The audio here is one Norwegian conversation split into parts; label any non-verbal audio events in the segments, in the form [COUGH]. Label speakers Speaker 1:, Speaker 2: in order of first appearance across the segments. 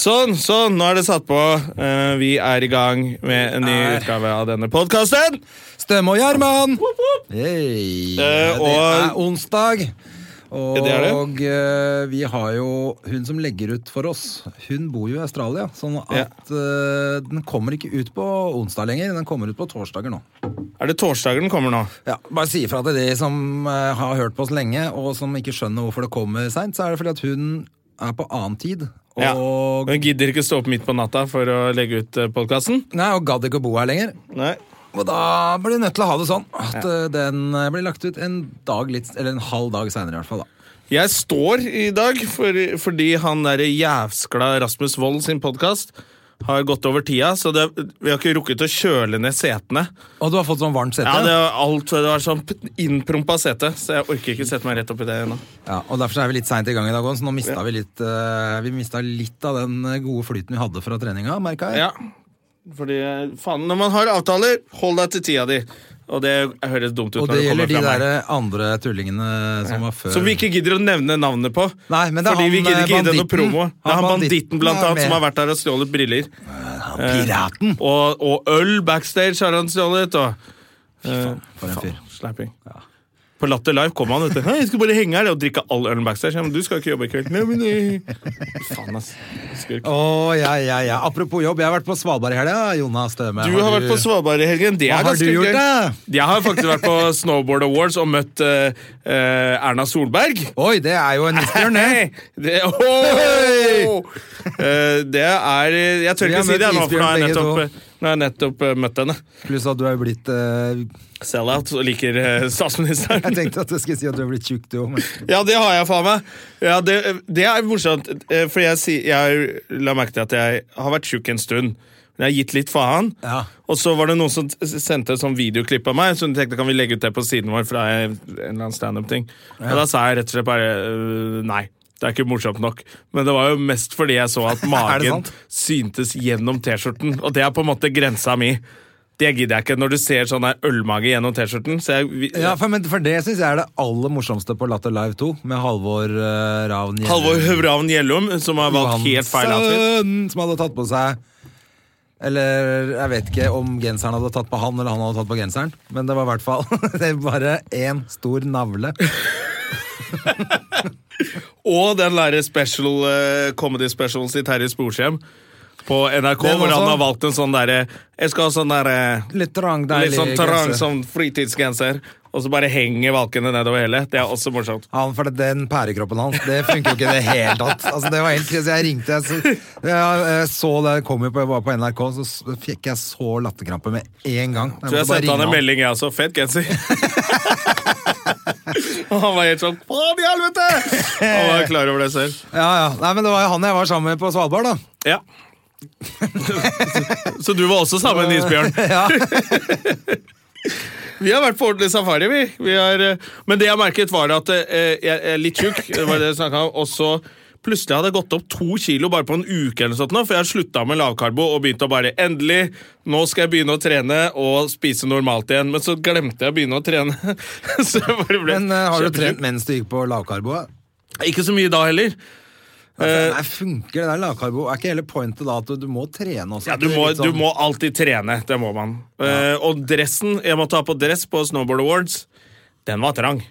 Speaker 1: Sånn, sånn, nå er det satt på. Eh, vi er i gang med en ny utgave av denne podkasten.
Speaker 2: Stømme og Gjerman! Hey.
Speaker 1: Eh,
Speaker 2: det
Speaker 1: og-
Speaker 2: er onsdag. Og
Speaker 1: Ja, det er det.
Speaker 2: eh, vi har jo hun som legger ut for oss. Hun bor jo i Australia, sånn at
Speaker 1: Ja.
Speaker 2: eh, den kommer ikke ut på onsdag lenger. Den kommer ut på torsdager nå.
Speaker 1: Er det torsdager den kommer nå?
Speaker 2: Ja, bare si ifra til de som eh, har hørt på oss lenge, og som ikke skjønner hvorfor det kommer seint, så er det fordi at hun er på annen tid. Og,
Speaker 1: Ja. Hun gidder ikke stå opp midt på natta for å legge ut eh, podkasten.
Speaker 2: nei, og gadd ikke å bo her lenger.
Speaker 1: Nei.
Speaker 2: Og da blir du nødt til å ha det sånn at eh, den eh, blir lagt ut en dag litt, eller en halv dag seinere i hvert fall. da.
Speaker 1: Jeg står i dag for, fordi han der jævskla Rasmus Wold sin podkast har gått over tida, så det, vi har ikke rukket å kjøle ned setene.
Speaker 2: Og du har fått sånn varmt sete?
Speaker 1: Ja, det var alt det var sånn p- innprompa sete, så jeg orker ikke sette meg rett opp i det ennå.
Speaker 2: Ja, og derfor er vi litt seint i gang i dag òg, så nå mista vi litt eh, Vi mista litt av den eh, gode flyten vi hadde fra treninga, merka jeg.
Speaker 1: Ja. Fordi, faen, når man har avtaler, hold deg til tida di. Og det høres dumt ut.
Speaker 2: Og
Speaker 1: når
Speaker 2: det gjelder
Speaker 1: kommer
Speaker 2: de
Speaker 1: fra meg.
Speaker 2: der eh, andre tullingene som var før.
Speaker 1: Som vi ikke gidder å nevne navnet på.
Speaker 2: Nei, men det er
Speaker 1: fordi
Speaker 2: han,
Speaker 1: vi gidder ikke gi det noe
Speaker 2: banditten.
Speaker 1: promo. Det er
Speaker 2: Han
Speaker 1: han
Speaker 2: banditten
Speaker 1: banditten blant
Speaker 2: er
Speaker 1: annet
Speaker 2: med.
Speaker 1: som har vært der og stjålet briller.
Speaker 2: Han Piraten!
Speaker 1: Og, og øl backstage har han stjålet. Og
Speaker 2: For en fyr.
Speaker 1: slapping. På Latter Live kom han vet du. Hei, jeg skulle bare henge her og drikke all ølen backstage. Ja, men du skal ikke jobbe i kveld. Nei, men nei. Faen, ass. Skurk.
Speaker 2: Å, ja, ja, ja. Apropos jobb, jeg har vært på Svalbard i helga, Jonas Støme.
Speaker 1: Du har vært på Svalbard i helgen. Det
Speaker 2: Hva
Speaker 1: er
Speaker 2: har
Speaker 1: ganske
Speaker 2: du gjort,
Speaker 1: gøy.
Speaker 2: da?
Speaker 1: Jeg har faktisk vært på [LAUGHS] Snowboard Awards og møtt eh, eh, Erna Solberg.
Speaker 2: Oi, det er jo en
Speaker 1: [LAUGHS]
Speaker 2: isbjørn, det.
Speaker 1: Hei! Det, Åh! Eh, det er Jeg tør
Speaker 2: Vi
Speaker 1: ikke
Speaker 2: har
Speaker 1: si det
Speaker 2: møtt
Speaker 1: nå, for nå har jeg
Speaker 2: isbjørn begge
Speaker 1: nettopp, eh, nå har jeg nettopp eh, møtt henne.
Speaker 2: Pluss at du er jo blitt eh,
Speaker 1: Sell-out og liker eh,
Speaker 2: Jeg
Speaker 1: statsministeren.
Speaker 2: tenkte at jeg skulle si at du er blitt tjukk, du òg, men
Speaker 1: [LAUGHS] Ja, det har jeg, faen meg. Ja, det, det er morsomt, eh, for jeg, si- jeg la merke til at jeg har vært tjukk en stund. Men jeg har gitt litt faen.
Speaker 2: Ja.
Speaker 1: Og så var det noen som t- sendte et sånn videoklipp av meg, så de tenkte kan vi legge ut det på siden vår fra en eller annen standup-ting. Og da sa jeg rett og slett bare øh, nei. Det er ikke morsomt nok. Men det var jo mest fordi jeg så
Speaker 2: [LAUGHS]
Speaker 1: at magen
Speaker 2: sant?
Speaker 1: syntes gjennom T-skjorten, og det er på en måte grensa mi. Det gidder jeg ikke når du ser sånn her ølmage gjennom T-skjorten. Så jeg, vi-
Speaker 2: Ja, for, men for det syns jeg er det aller morsomste på Latter Live 2, med Halvor eh, Ravn Gjellum.
Speaker 1: Halvor Høvravn Gjellum, som har valgt helt feil outfit.
Speaker 2: Johansen, Som hadde tatt på seg Eller jeg vet ikke om genseren hadde tatt på han, eller han hadde tatt på genseren. Men det var i hvert fall [LAUGHS] det er bare én stor navle.
Speaker 1: Og den derre special, eh, comedy specialen til Terje Sporsem på NRK,
Speaker 2: Den
Speaker 1: hvor han
Speaker 2: også.
Speaker 1: har valgt en sånn derre Jeg skal ha sånn derre
Speaker 2: Litt trang, deilig
Speaker 1: Litt sånn trang
Speaker 2: genser.
Speaker 1: sånn fritidsgenser, og så bare henger valkene nedover hele. Det er også morsomt.
Speaker 2: Han, for den pærekroppen hans, det funker jo ikke i det hele tatt. Altså, det var helt krise. Jeg ringte, jeg så, jeg, jeg så det kom jo på, jeg var på NRK, så s- fikk jeg så latterkrampe med en gang.
Speaker 1: Så jeg
Speaker 2: måtte bare
Speaker 1: sendte han en
Speaker 2: ringe
Speaker 1: melding, jeg også.
Speaker 2: [LAUGHS]
Speaker 1: Fet genser. [LAUGHS] og han var helt sånn Faen i helvete! Han var klar over det selv.
Speaker 2: Ja, ja. Nei, men det var jo han jeg var sammen med på Svalbard, da.
Speaker 1: Ja. [LAUGHS] så du var også sammen med en
Speaker 2: [LAUGHS]
Speaker 1: isbjørn? [LAUGHS] Vi har vært på ordentlig safari, vi. vi har, eh, men det jeg merket, var at eh, jeg jeg er litt tjukk. Det var det jeg snakket om. Og så plutselig hadde jeg gått opp to kilo bare på en uke, eller noe sånt nå, for jeg har slutta med lavkarbo og begynte å bare Endelig! Nå skal jeg begynne å trene og spise normalt igjen. Men så glemte jeg å begynne å trene. [LAUGHS] så jeg bare ble
Speaker 2: Men eh, har du
Speaker 1: kjempetjukk.
Speaker 2: trent mens du gikk på lavkarbo? da?
Speaker 1: Ikke så mye da heller. Eh,
Speaker 2: Nei, funker det der lavkarbo? Er ikke hele pointet da at du, du må trene også?
Speaker 1: Ja, du må, du
Speaker 2: sånn
Speaker 1: må alltid trene. Det må man. Eh, og dressen Jeg måtte ha på dress på Snowboard Awards. Den var trang.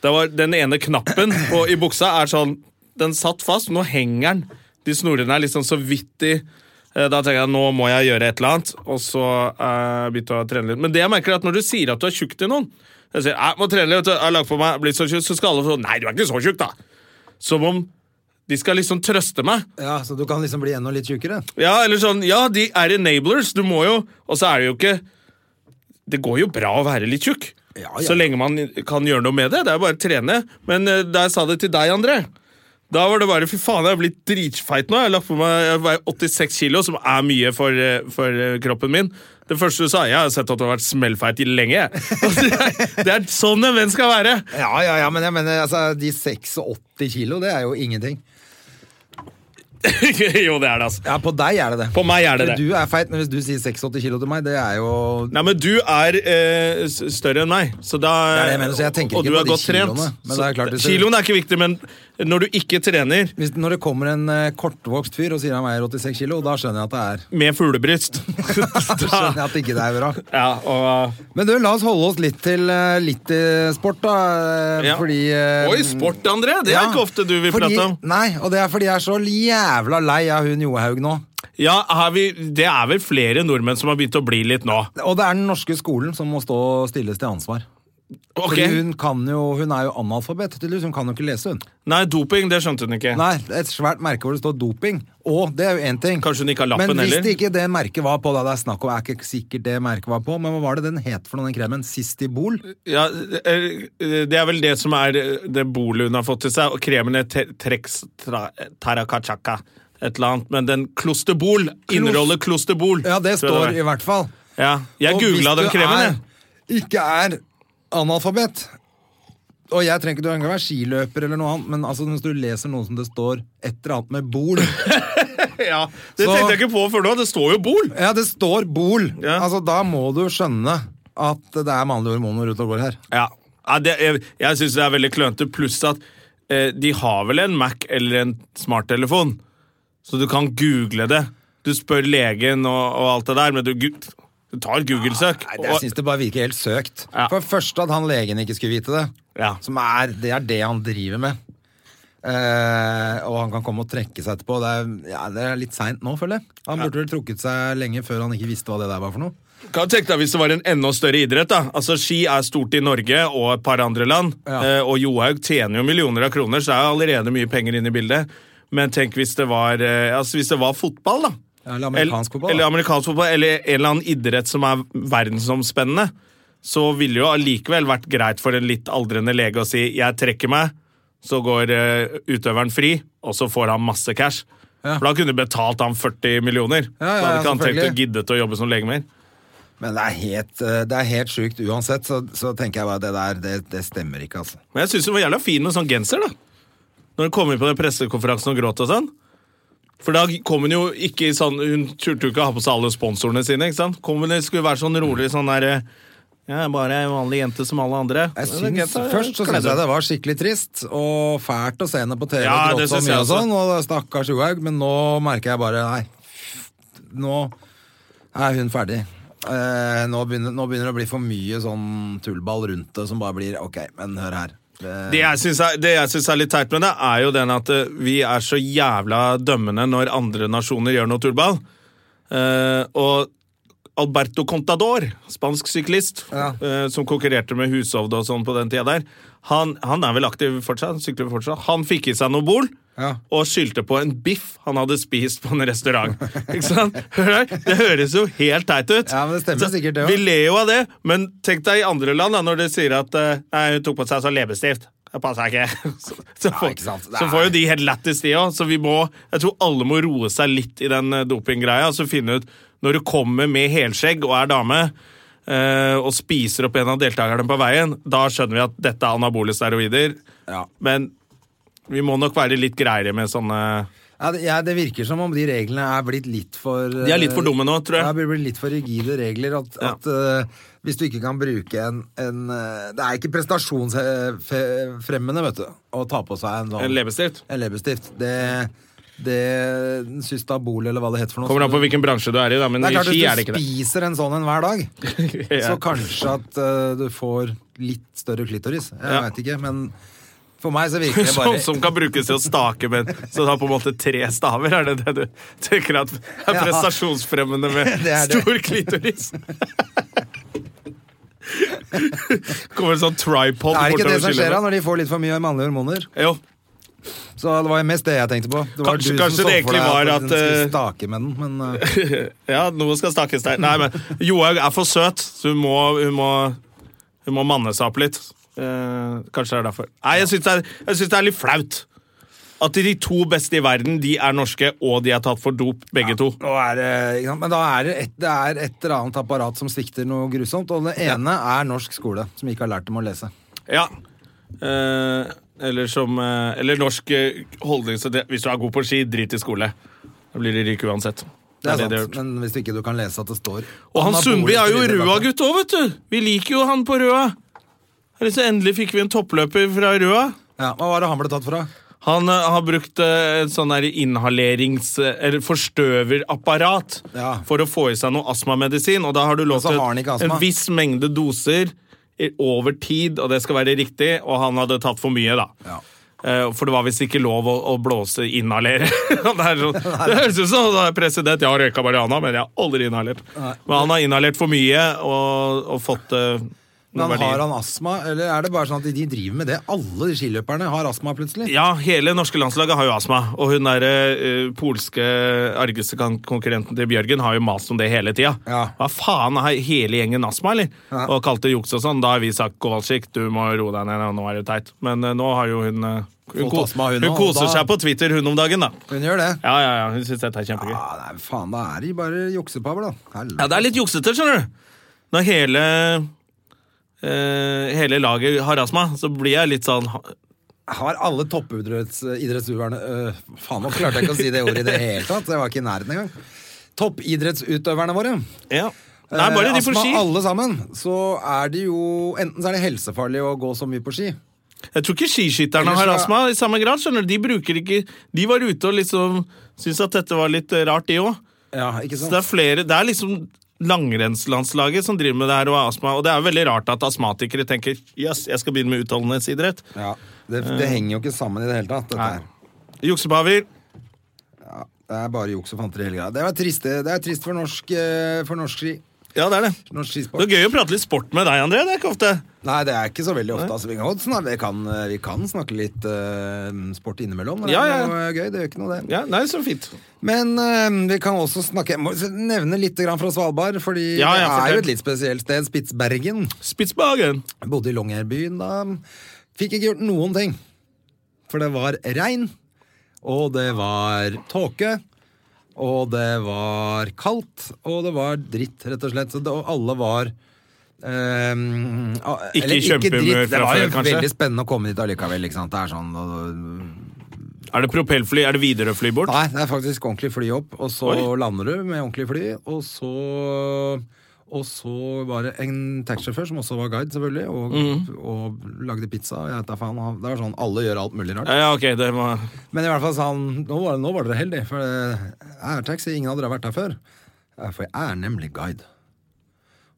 Speaker 1: Det var, den ene knappen på, i buksa er sånn Den satt fast. Nå henger den. De snorene er liksom så vidt i eh, Da tenker jeg nå må jeg gjøre et eller annet, og så eh, begynte jeg å trene litt. Men det jeg merker er at når du sier at du er tjukk til noen Jeg sier jeg må trene litt, jeg har lagt på meg, blitt så tjukk, så skal alle få Nei, du er ikke så tjukk, da! Som om de skal liksom trøste meg.
Speaker 2: Ja, Så du kan liksom bli enda litt tjukkere?
Speaker 1: Ja, eller sånn, ja, de er enablers, du må jo Og så er det jo ikke Det går jo bra å være litt tjukk.
Speaker 2: Ja, ja.
Speaker 1: Så lenge man kan gjøre noe med det. Det er bare å trene. Men eh, da jeg sa det til deg, André Da var det bare Fy faen, jeg har blitt dritfeit nå. Jeg har lagt på meg jeg veier 86 kilo, som er mye for, eh, for eh, kroppen min. Det første du sa, jeg har sett at du har vært smellfeit i lenge. jeg. [LAUGHS] Altså, det, er, det er sånn en venn skal være! [LAUGHS]
Speaker 2: Ja, ja, ja, men jeg mener altså, de 86 kilo, det er jo ingenting.
Speaker 1: jo, det er det, altså.
Speaker 2: Ja, på deg er det det.
Speaker 1: På meg er det det.
Speaker 2: Du er feit, men hvis du sier 86 kilo til meg, det er jo
Speaker 1: Nei, men du er eh, s- større enn meg, så da
Speaker 2: Det er det jeg mener, så jeg tenker
Speaker 1: Og
Speaker 2: ikke på
Speaker 1: du er
Speaker 2: de
Speaker 1: godt trent.
Speaker 2: kiloene, men det er klart, hvis
Speaker 1: så,
Speaker 2: det-
Speaker 1: kiloen er ikke viktig, men når du ikke trener
Speaker 2: hvis, Når det kommer en eh, kortvokst fyr og sier han veier 86 kilo, da skjønner jeg at det er [LAUGHS]
Speaker 1: med [LAUGHS] fuglebryst
Speaker 2: Da skjønner jeg at det ikke er bra.
Speaker 1: Ja, og
Speaker 2: Men du, la oss holde oss litt til, eh, litt til sport, da. eh,
Speaker 1: Ja.
Speaker 2: Fordi eh,
Speaker 1: Oi, sport, André! Det er
Speaker 2: ja,
Speaker 1: ikke ofte du vil
Speaker 2: fordi,
Speaker 1: prate om.
Speaker 2: Nei, og det er fordi jeg er så jævla lei av hun Johaug nå.
Speaker 1: Ja, har vi, Det er vel flere nordmenn som har begynt å bli litt nå.
Speaker 2: Og det er den norske skolen som må stå stilles til ansvar.
Speaker 1: Ok,
Speaker 2: Fordi hun, kan jo, hun er jo analfabet, tydeligvis. Hun kan jo ikke lese, hun.
Speaker 1: Nei, doping, det skjønte hun ikke.
Speaker 2: Nei, et svært merke hvor det står doping. Og det er jo én ting.
Speaker 1: Kanskje hun ikke har lappen
Speaker 2: Men hvis
Speaker 1: heller?
Speaker 2: det ikke det merket var på, da det er snakk om, er ikke sikkert det merket var på, men hva var det den het for noe, den kremen? Sistibol?
Speaker 1: Ja, eh, Det er vel det som er det- det bolet hun har fått til seg, og kremen er te- Trex tra, Tarakachaka. Et eller annet, men den klosterbol inneholder klosterbol.
Speaker 2: Ja, det
Speaker 1: tror
Speaker 2: står
Speaker 1: jeg
Speaker 2: i hvert fall.
Speaker 1: var. ja. Jeg
Speaker 2: Og hvis
Speaker 1: googla den
Speaker 2: du
Speaker 1: kremen,
Speaker 2: er-
Speaker 1: jeg.
Speaker 2: Ikke er analfabet. Og jeg trenger ikke du kan være skiløper eller noe annet, men altså, hvis du leser noe som det står et eller annet med bol [LAUGHS]
Speaker 1: Ja, det
Speaker 2: Så-
Speaker 1: tenkte jeg ikke på før nå. Det står jo bol!
Speaker 2: Ja, det står bol!
Speaker 1: Ja.
Speaker 2: Altså, da må du skjønne at det er mannlige hormoner ute og går her.
Speaker 1: Ja, ja det, Jeg, jeg syns det er veldig klønete, pluss at eh, de har vel en Mac eller en smarttelefon, så du kan google det. Du spør legen og, og alt det der, men du, gu- du tar et Google-søk.
Speaker 2: Nei, det, jeg syns det bare virker helt søkt.
Speaker 1: Ja.
Speaker 2: For det første at han legen ikke skulle vite det.
Speaker 1: Ja.
Speaker 2: Som er, det er det han driver med. Eh, og han kan komme og trekke seg etterpå. Det er, ja, det er litt seint nå, føler jeg. Han burde vel trukket seg lenge før han ikke visste hva det der var for noe.
Speaker 1: Kan du tenke deg hvis det var en enda større idrett. da? Altså, Ski er stort i Norge og et par andre land.
Speaker 2: Ja.
Speaker 1: Eh, og Johaug tjener jo millioner av kroner, så det er allerede mye penger inne i bildet. Men tenk hvis det var, eh, altså, hvis det var fotball, da.
Speaker 2: Ja, eller amerikansk fotball, da.
Speaker 1: Eller amerikansk fotball, eller en eller annen idrett som er verdensomspennende. Så ville jo allikevel vært greit for en litt aldrende lege å si 'jeg trekker meg', så går eh, utøveren fri, og så får han masse cash.
Speaker 2: Ja.
Speaker 1: For da kunne du betalt han 40 millioner.
Speaker 2: Ja, ja,
Speaker 1: da hadde ikke han tenkt å
Speaker 2: selvfølgelig.
Speaker 1: giddet å jobbe som lege mer.
Speaker 2: Men det er helt, eh, det er helt sjukt uansett. Så, så tenker jeg bare det der, det, det stemmer ikke, altså.
Speaker 1: Men jeg syns hun var jævla fin med sånn genser, da. Når hun kom inn på den pressekonferansen og gråt og sånn. For da kom hun jo ikke i sånn Hun turte jo ikke å ha på seg alle sponsorene sine. ikke sant? Kom hun skulle være sånn rolig sånn der eh, Ja, jeg er bare en vanlig jente som alle andre.
Speaker 2: Jeg
Speaker 1: Ja, det er
Speaker 2: syns,
Speaker 1: greit, da.
Speaker 2: først så
Speaker 1: Kledde
Speaker 2: syns jeg det var skikkelig trist og fælt å se henne på TV og
Speaker 1: Ja, det
Speaker 2: gråte så
Speaker 1: syns
Speaker 2: mye
Speaker 1: jeg
Speaker 2: og sånn, og stakkars Johaug, men nå merker jeg bare Nei, nå er hun ferdig. Eh, nå, begynner, nå begynner det å bli for mye sånn tullball rundt det som bare blir Ok, men hør her. Eh,
Speaker 1: Det jeg syns er, det jeg synes er litt teit med det, er jo den at eh, vi er så jævla dømmende når andre nasjoner gjør noe tullball. Eh, og Alberto Contador, spansk syklist,
Speaker 2: Ja.
Speaker 1: eh, som konkurrerte med Hushovd og sånn på den tida der, han, han er vel aktiv fortsatt, han sykler fortsatt. Han fikk i seg noe bol.
Speaker 2: Ja.
Speaker 1: Og skyldte på en biff han hadde spist på en restaurant. [LAUGHS] Ikke sant? Hør her, Det høres jo helt teit ut.
Speaker 2: Ja, men det stemmer sikkert det også.
Speaker 1: Vi ler jo av det, men tenk deg i andre land da, når de sier at eh, nei, hun tok på seg sånn leppestift. Det passer ikke. [LAUGHS] Så, så, får,
Speaker 2: ikke sant.
Speaker 1: så får jo de helt lættis, de òg. Så vi må, jeg tror alle må roe seg litt i den eh, dopinggreia. Og så finne ut Når du kommer med helskjegg og er dame, eh, og spiser opp en av deltakerne på veien, da skjønner vi at dette er anabole steroider.
Speaker 2: Ja.
Speaker 1: Men vi må nok være litt greiere med sånne
Speaker 2: Ja, det, ja, det virker som om de reglene er blitt litt for eh,
Speaker 1: De er litt for dumme nå, tror jeg.
Speaker 2: Ja, det blir litt for rigide regler. At,
Speaker 1: Ja.
Speaker 2: at eh, hvis du ikke kan bruke en, en eh, Det er ikke prestasjonsfremmende, vet du, å ta på seg en, sånn-
Speaker 1: En leppestift.
Speaker 2: en leppestift. Det, det Systabol, eller hva det heter for noe.
Speaker 1: Kommer an på hvilken bransje du er i, da, men
Speaker 2: Det
Speaker 1: i
Speaker 2: er klart,
Speaker 1: ski er det
Speaker 2: Hvis du
Speaker 1: ikke det.
Speaker 2: spiser en sånn en hver dag,
Speaker 1: [LAUGHS] Ja.
Speaker 2: så kanskje at eh, du får litt større klitoris. Jeg
Speaker 1: Ja.
Speaker 2: veit ikke, men for meg så
Speaker 1: [LAUGHS]
Speaker 2: virker det
Speaker 1: Som,
Speaker 2: bare
Speaker 1: Sånn som kan brukes til å stake med Så det har på en måte tre staver? Er det det du tenker at er
Speaker 2: Ja.
Speaker 1: prestasjonsfremmende med
Speaker 2: [LAUGHS] Det er det.
Speaker 1: stor klitoris? [LAUGHS] Kommer en sånn tripod
Speaker 2: Er det ikke det
Speaker 1: bortover
Speaker 2: som skjer da,
Speaker 1: skiløpet.
Speaker 2: når de får litt for mye mannlige hormoner?
Speaker 1: Jo.
Speaker 2: Så det var mest det jeg tenkte på. Det var
Speaker 1: Kanskje-
Speaker 2: du som
Speaker 1: kanskje
Speaker 2: så
Speaker 1: det
Speaker 2: for deg
Speaker 1: egentlig var
Speaker 2: hun
Speaker 1: at,
Speaker 2: skulle
Speaker 1: eh,
Speaker 2: stake med den, men
Speaker 1: [LAUGHS]
Speaker 2: eh,
Speaker 1: Ja, noe skal stakes der. Nei, men Johaug er for søt, så hun må, hun må, hun må manne seg opp litt. Eh, kanskje det er derfor. Nei, jeg syns det, er- jeg syns det er litt flaut. at de to beste i verden de er norske, og de er tatt for dop, begge to.
Speaker 2: Nå er det, ikke sant? Men da er det, et, det er et eller annet apparat som svikter noe grusomt, og det ene er norsk skole, som ikke har lært dem å lese.
Speaker 1: Ja. Eh, eller som eh, Eller norsk eh, holdning så det- Hvis du er god på ski, drit i skole. Da blir du rik uansett.
Speaker 2: Det er
Speaker 1: det de har
Speaker 2: sant,
Speaker 1: gjort.
Speaker 2: men hvis du ikke du kan lese at det står
Speaker 1: Og han
Speaker 2: Anabolisk
Speaker 1: Sundby er jo
Speaker 2: ridebakke.
Speaker 1: Røa-gutt òg, vet du! Vi liker jo han på Røa. Eller så endelig fikk vi en toppløper fra Røa.
Speaker 2: Ja, Hva var det han ble tatt fra?
Speaker 1: Han eh, har brukt eh, et sånn der inhalerings... Eller forstøverapparat
Speaker 2: Ja.
Speaker 1: for å få i seg noe astmamedisin, og da har du lov
Speaker 2: så
Speaker 1: til
Speaker 2: har han ikke astma.
Speaker 1: en viss mengde doser i- over tid, og det skal være riktig, og han hadde tatt for mye, da.
Speaker 2: Ja.
Speaker 1: Eh, For det var visst ikke lov å, å blåse inhalere. [LAUGHS] det, er
Speaker 2: [LAUGHS]
Speaker 1: sånn, det høres ut som han er president. Jeg har røyka marihuana, men jeg har aldri inhalert. Men han har inhalert for mye og, og fått eh, noen
Speaker 2: Men har
Speaker 1: verdier.
Speaker 2: han astma, eller er det bare sånn at de driver med det? Alle de skiløperne har astma plutselig.
Speaker 1: Ja, hele norske landslaget har jo astma. Og hun derre eh, polske argeste kon- konkurrenten til Bjørgen har jo mast om det hele tida.
Speaker 2: Ja.
Speaker 1: Hva faen, har hele gjengen astma, eller? Og kalte juks og sånn. Da har vi sagt Kowalczyk, du må roe deg ned, nå er det teit. Men eh, nå har jo hun eh, Hun,
Speaker 2: Fått
Speaker 1: ko-
Speaker 2: astma, hun
Speaker 1: hun
Speaker 2: nå, og
Speaker 1: koser
Speaker 2: da-
Speaker 1: seg på Twitter, hun om dagen, da.
Speaker 2: Hun gjør det.
Speaker 1: Ja, ja, ja, hun synes dette er kjempegøy.
Speaker 2: Ja, nei, faen, da er de bare juksepavler, da. Helvete.
Speaker 1: Ja, det er litt juksete, skjønner du. Når hele eh, hele laget har astma, så blir jeg litt sånn
Speaker 2: Har alle toppidrettsutøverne øh, Faen, nå klarte jeg ikke å si det ordet i det hele tatt. Jeg var ikke i nærheten engang. Toppidrettsutøverne våre.
Speaker 1: Ja. Nei, bare de
Speaker 2: Eh,
Speaker 1: på
Speaker 2: astma,
Speaker 1: ski.
Speaker 2: Alle sammen. Så er det jo Enten så er det helsefarlig å gå så mye på ski.
Speaker 1: Jeg tror ikke skiskytterne har
Speaker 2: Ellers så-
Speaker 1: astma i samme grad. skjønner du? De bruker ikke De var ute og liksom syntes at dette var litt eh, rart, de òg.
Speaker 2: Ja, ikke
Speaker 1: Så det er flere Det er liksom langrennslandslaget som driver med det her og har astma. Og det er veldig rart at astmatikere tenker jøss, yes, jeg skal begynne med utholdenhetsidrett.
Speaker 2: Ja, det, det henger jo ikke sammen i det hele tatt. Dette
Speaker 1: Eh. Nei.
Speaker 2: her.
Speaker 1: Juksepaver.
Speaker 2: Det er bare juks og fanteri hele greia. Det, er trist, det, det er trist for norsk, eh, for norsk ski.
Speaker 1: Ja, det er det.
Speaker 2: Norsk
Speaker 1: Det
Speaker 2: skisport.
Speaker 1: er gøy å prate litt sport med deg, André. Det er ikke ofte.
Speaker 2: Nei, det er ikke så veldig ofte. Altså, vi, kan, godt snakke- vi, kan, eh, vi kan snakke litt eh, sport innimellom. Det er
Speaker 1: Ja, ja.
Speaker 2: jo eh, gøy, det gjør ikke noe, det.
Speaker 1: Ja, nei, så fint.
Speaker 2: Men eh, vi kan også snakke jeg må nevne litt grann fra Svalbard, fordi
Speaker 1: Ja, ja,
Speaker 2: det er
Speaker 1: fortell.
Speaker 2: jo et litt spesielt sted. Spitsbergen.
Speaker 1: Spitsbergen.
Speaker 2: Bodde i Longyearbyen da. Fikk ikke gjort noen ting. For det var regn, og det var tåke, og det var kaldt, og det var dritt, rett og slett. Så det, og alle var ehm, a-
Speaker 1: Ikke
Speaker 2: eller
Speaker 1: kjempehumør
Speaker 2: dritt.
Speaker 1: fra
Speaker 2: Det var
Speaker 1: før,
Speaker 2: jo
Speaker 1: kanskje?
Speaker 2: veldig spennende å komme dit allikevel. Ikke sant? Det er sånn og-
Speaker 1: Er det propellfly? Er det Widerøe-fly bort?
Speaker 2: Nei, det er faktisk ordentlig fly opp, og så
Speaker 1: Oi.
Speaker 2: lander du med ordentlig fly, og så og så var det en taxisjåfør som også var guide, selvfølgelig, og,
Speaker 1: Mm.
Speaker 2: og lagde pizza. og Jeg vet da faen, han- det var sånn, Alle gjør alt mulig rart.
Speaker 1: Ja, ja, ok, det var...
Speaker 2: Men i hvert fall sa han nå var, nå var dere heldige, for eh, jeg er taxi, ingen av dere har vært her før. Ja, For jeg er nemlig guide.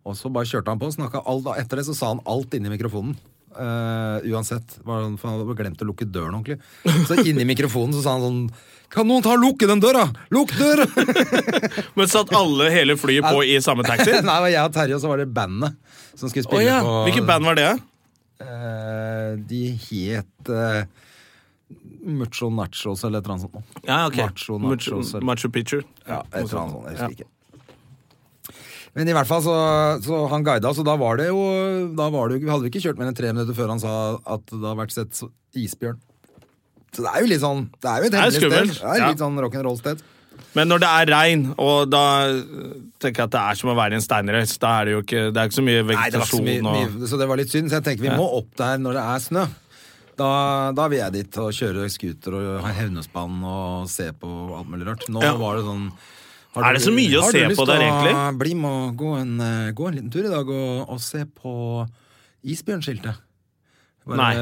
Speaker 2: Og så bare kjørte han på, snakka alt da. Etter det så sa han alt inni mikrofonen. Eh, uansett. Var han, for han hadde glemt å lukke døren ordentlig. Så inni mikrofonen så sa han sånn Kan noen ta og lukke den døra?! Lukk døra! [LAUGHS]
Speaker 1: Men satt alle hele flyet på i samme taxi?
Speaker 2: [LAUGHS] Nei, det var jeg og Terje, og så var det bandet som skulle
Speaker 1: Å
Speaker 2: spille
Speaker 1: ja.
Speaker 2: på
Speaker 1: Hvilket band var det?
Speaker 2: Eh, de het eh, Mucho Nachos eller et eller annet sånt.
Speaker 1: Ja, ok.
Speaker 2: Macho,
Speaker 1: Machu-
Speaker 2: nachos, eller-
Speaker 1: Machu Picchu.
Speaker 2: Ja, et eller annet sånt. Jeg
Speaker 1: Ja.
Speaker 2: husker ikke. Men i hvert fall så, så han guida, så da var det jo Da var det, jo- hadde vi ikke kjørt mer enn tre minutter før han sa at det har vært sett så- isbjørn. Så det er jo litt sånn Det er jo et
Speaker 1: er
Speaker 2: hemmelig sted.
Speaker 1: skummelt,
Speaker 2: Det er
Speaker 1: ja.
Speaker 2: litt sånn rock'n'roll-sted.
Speaker 1: Men når det er regn, og da øh, tenker jeg at det er som å være i en steinrøys. Da er det jo ikke, det er ikke så mye
Speaker 2: Nei, det var ikke så
Speaker 1: vegetasjon
Speaker 2: mye,
Speaker 1: og
Speaker 2: mye, så det var litt synd. Så jeg tenker vi må opp der når det er snø. Da, da vil jeg dit og kjøre scooter og ha hevnespann og se på alt mulig rart. Nå
Speaker 1: Ja.
Speaker 2: var det sånn
Speaker 1: Er det så mye å se på der,
Speaker 2: Har du lyst til
Speaker 1: egentlig?
Speaker 2: å bli med og gå en, eh, gå en liten tur i dag og, og se på isbjørnskiltet? Bare, [LAUGHS]
Speaker 1: Nei.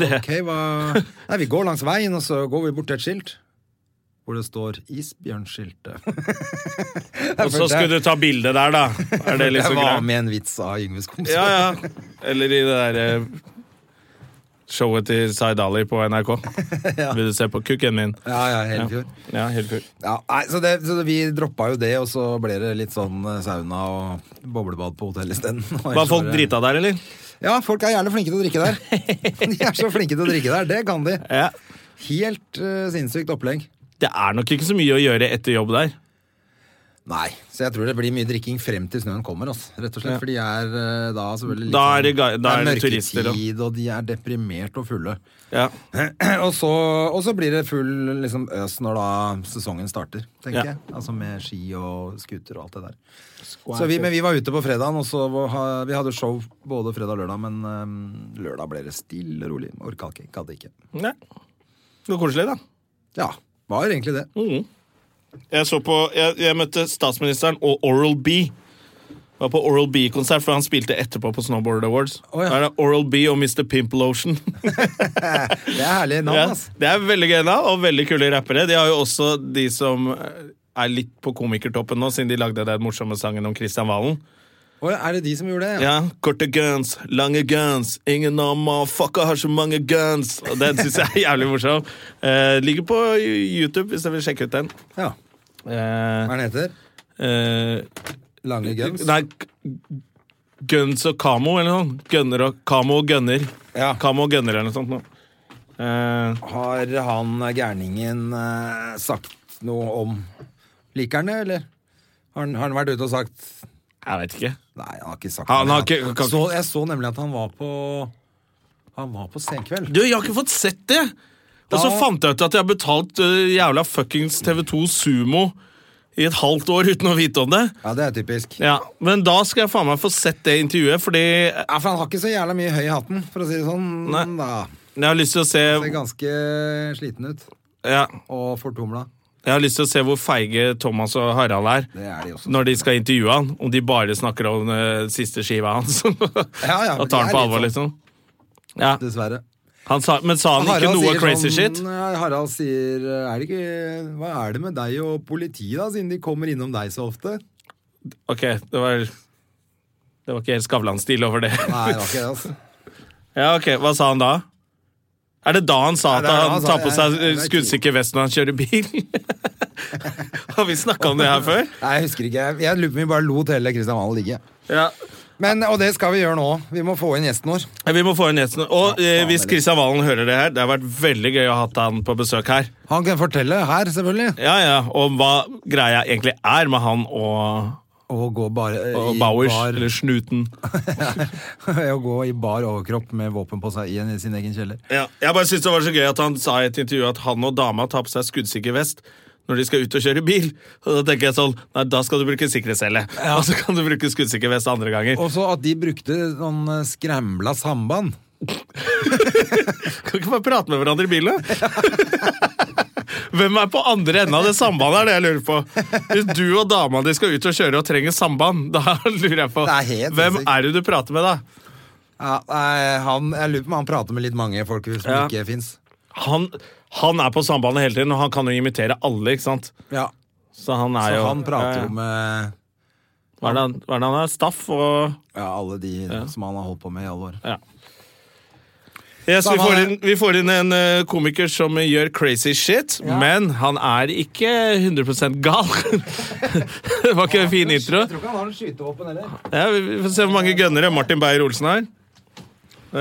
Speaker 1: Det-
Speaker 2: Ok, hva Nei, vi går langs veien, og så går vi bort til et skilt. Hvor det står 'Isbjørnskiltet'. [LAUGHS]
Speaker 1: Og så skulle du ta bilde der,
Speaker 2: [LAUGHS]
Speaker 1: da. Er det
Speaker 2: Jeg
Speaker 1: liksom
Speaker 2: var
Speaker 1: greit?
Speaker 2: med i en vits av Yngve Skomsvold.
Speaker 1: Ja, ja. Eller i det derre showet til Zaid Ali på
Speaker 2: [LAUGHS]
Speaker 1: NRK. Vil du se på kukken min?
Speaker 2: ja, ja, hele fjor.
Speaker 1: Ja, helt kult.
Speaker 2: Ja, nei, så, det, så det- vi droppa jo det, og så ble det litt sånn eh, sauna og boblebad på hotellet isteden. [LAUGHS]
Speaker 1: Var folk drita der, eller?
Speaker 2: Ja, folk er gjerne flinke til å drikke der.
Speaker 1: [LAUGHS]
Speaker 2: De er så flinke til å drikke der, det kan de.
Speaker 1: Ja.
Speaker 2: Helt eh, sinnssykt opplegg.
Speaker 1: Det er nok ikke så mye å gjøre etter jobb der.
Speaker 2: Nei, så jeg tror det blir mye drikking frem til snøen kommer. Altså. Rett og slett,
Speaker 1: Ja.
Speaker 2: For de er eh, da selvfølgelig litt
Speaker 1: Da er det ga-
Speaker 2: sånn-
Speaker 1: da er det
Speaker 2: mørketid,
Speaker 1: turister,
Speaker 2: og de er deprimert og fulle. [LAUGHS]
Speaker 1: Ja.
Speaker 2: og, så, og så blir det full liksom, øs når da sesongen starter, tenker
Speaker 1: Ja.
Speaker 2: jeg. Altså med ski og skuter og alt det der. Så vi, men vi var ute på fredagen, og så var- ha- vi hadde show både fredag og lørdag, men eh, lørdag ble det stille og rolig. Orka ikke, gadd ikke.
Speaker 1: Nei. Det var koselig, da.
Speaker 2: Ja, var egentlig det.
Speaker 1: Mm. Jeg, så på, jeg, jeg møtte statsministeren og Oral B. Var på Oral B-konsert, for han spilte etterpå på Snowboard Awards.
Speaker 2: Å, ja.
Speaker 1: Da er det Oral B og Mr. Pimple Ocean.
Speaker 2: Det er herlig navn,
Speaker 1: [LAUGHS] Ja,
Speaker 2: ass.
Speaker 1: det er veldig gøy navn, og veldig kule rappere. De har jo også de som eh, er litt på komikertoppen nå, siden de lagde den morsomme sangen om Kristian Valen.
Speaker 2: Å, ja, er det de som gjorde det?
Speaker 1: Ja, Korte guns, lange guns, ingen av motherfucker har så mange guns. Og Den syns jeg er jævlig morsom. Eh, ligger på YouTube, hvis dere vil sjekke ut den.
Speaker 2: Ja.
Speaker 1: Eh,
Speaker 2: Hva er den heter?
Speaker 1: eh,
Speaker 2: Lange Guns?
Speaker 1: Nei, g- Guns og Kamo eller noe sånt. Gunner og Kamo og Gunner.
Speaker 2: Ja.
Speaker 1: Kamo og Gunner eller noe sånt. nå. Eh,
Speaker 2: Har han eh, gærningen eh, sagt noe om Liker han det, eller? Har han, har han vært ute og sagt
Speaker 1: jeg vet ikke.
Speaker 2: Nei, han har ikke sagt
Speaker 1: Han
Speaker 2: noe.
Speaker 1: har ikke- kan-
Speaker 2: så, Jeg så nemlig at han var på Han var på Senkveld.
Speaker 1: Du, jeg har ikke fått sett det! Og så
Speaker 2: Da-
Speaker 1: fant jeg ut at jeg har betalt eh, jævla fuckings TV2 Sumo i et halvt år uten å vite om det.
Speaker 2: Ja, det er typisk.
Speaker 1: Ja, Men da skal jeg faen meg få sett det intervjuet, fordi jeg
Speaker 2: Ja, for han har ikke så jævla mye høy i hatten, for å si det sånn.
Speaker 1: Nei.
Speaker 2: Da.
Speaker 1: har lyst til å se
Speaker 2: Ser ganske sliten ut.
Speaker 1: ja,
Speaker 2: Og fortumla.
Speaker 1: Jeg har lyst til å se hvor feige Thomas og Harald er
Speaker 2: Det er de også.
Speaker 1: når de skal intervjue han, om de bare snakker om eh, siste skiva hans. [LAUGHS]
Speaker 2: Ja, ja,
Speaker 1: da
Speaker 2: men det
Speaker 1: tar han
Speaker 2: er litt
Speaker 1: på alvor,
Speaker 2: sånn.
Speaker 1: liksom. Ja,
Speaker 2: Dessverre.
Speaker 1: han sa, men sa han ikke
Speaker 2: Harald
Speaker 1: noe
Speaker 2: sier
Speaker 1: crazy
Speaker 2: sånn,
Speaker 1: shit?
Speaker 2: ja, Harald sier eh, er det ikke, Hva er det med deg og politiet, da, siden de kommer innom deg så ofte?
Speaker 1: Ok, det var Det var ikke helt Skavlan-stil over det.
Speaker 2: Nei, det var ikke det, altså.
Speaker 1: [LAUGHS] Ja, ok, Hva sa han da? Er det da han sa
Speaker 2: Nei,
Speaker 1: at
Speaker 2: det er da
Speaker 1: han
Speaker 2: han sa-
Speaker 1: tar på
Speaker 2: jeg-
Speaker 1: seg
Speaker 2: jeg- jeg-
Speaker 1: skuddsikker vest når han kjører bil? [LAUGHS] Har vi snakka om det her før?
Speaker 2: Nei, jeg husker ikke. Jeg- Jeg lurer på om vi bare lot hele Kristian Valen ligge.
Speaker 1: Ja.
Speaker 2: Men, og det skal vi gjøre nå. Vi må få inn gjesten vår.
Speaker 1: Vi må få inn gjesten. Og eh, hvis Kristian Valen hører det her, det har vært veldig gøy å ha han på besøk her.
Speaker 2: Han kan fortelle her, selvfølgelig.
Speaker 1: Ja, ja, Og hva greia egentlig er med han og,
Speaker 2: Å gå bare
Speaker 1: og
Speaker 2: i
Speaker 1: Bowers,
Speaker 2: bar, [LAUGHS]
Speaker 1: eller Snuten.
Speaker 2: å gå i bar overkropp med våpen på seg i en- i sin egen kjeller.
Speaker 1: Ja, jeg bare synes det var så gøy at han sa i et intervju at han og dama tar på seg skuddsikker vest når de skal ut og kjøre bil. Og da tenker jeg sånn, nei, da skal du bruke sikkerhetscelle. Og så kan du bruke skuddsikker vest andre ganger.
Speaker 2: Og så at de brukte sånn eh, skrambla samband.
Speaker 1: Kan ikke bare prate med hverandre i bilen? [LAUGHS] Hvem er på andre enden av det sambandet, er det jeg lurer på. Hvis du og dama di skal ut og kjøre og trenger samband, [LAUGHS] da lurer jeg på
Speaker 2: Det er helt
Speaker 1: Hvem
Speaker 2: sinnssykt.
Speaker 1: er det du prater med, da?
Speaker 2: Ja, nei, han, jeg lurer på om han prater med litt mange folk som
Speaker 1: Ja.
Speaker 2: ikke fins.
Speaker 1: Han, han er på sambandet hele tiden, og han kan jo imitere alle, ikke sant?
Speaker 2: Ja,
Speaker 1: Så han er
Speaker 2: så
Speaker 1: jo
Speaker 2: han prater
Speaker 1: Ja, ja.
Speaker 2: jo med
Speaker 1: Hva er det han- hva er det han er? Staff og
Speaker 2: ja, alle de som han har holdt på med i alle år.
Speaker 1: Ja. Yes, vi,
Speaker 2: Samme
Speaker 1: får
Speaker 2: det.
Speaker 1: inn, vi får inn en eh, komiker som gjør crazy shit, men han er ikke 100 gal. [LAUGHS] det var ikke en fin intro.
Speaker 2: tror ikke han har noe skytevåpen heller.
Speaker 1: Ja, vi vi får se hvor mange gønnere Martin Beyer-Olsen har.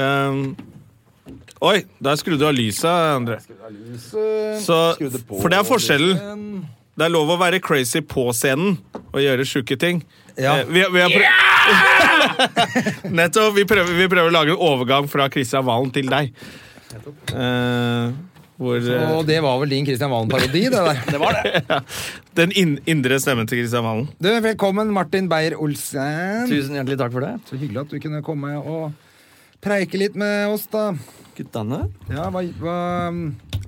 Speaker 1: Ehm, oi, der skrudde du av lyset, André. Så, for det er forskjellen. Det er lov å være crazy på scenen og gjøre sjuke ting.
Speaker 2: Ja.
Speaker 1: Eh, Vi, vi har prøv... [LAUGHS] Nettopp. Vi prøver, vi prøver å lage en overgang fra Kristian Valen til deg. Eh, hvor eh,
Speaker 2: Og det var vel din Kristian Valen-parodi, det der. [LAUGHS]
Speaker 1: [LAUGHS] Den inn, indre stemmen til Kristian Valen.
Speaker 2: Du, velkommen, Martin Beyer-Olsen.
Speaker 3: Tusen hjertelig takk for det.
Speaker 2: Så hyggelig at du kunne komme og preike litt med oss, da.
Speaker 3: Guttene?
Speaker 2: Ja, hva, hva mm,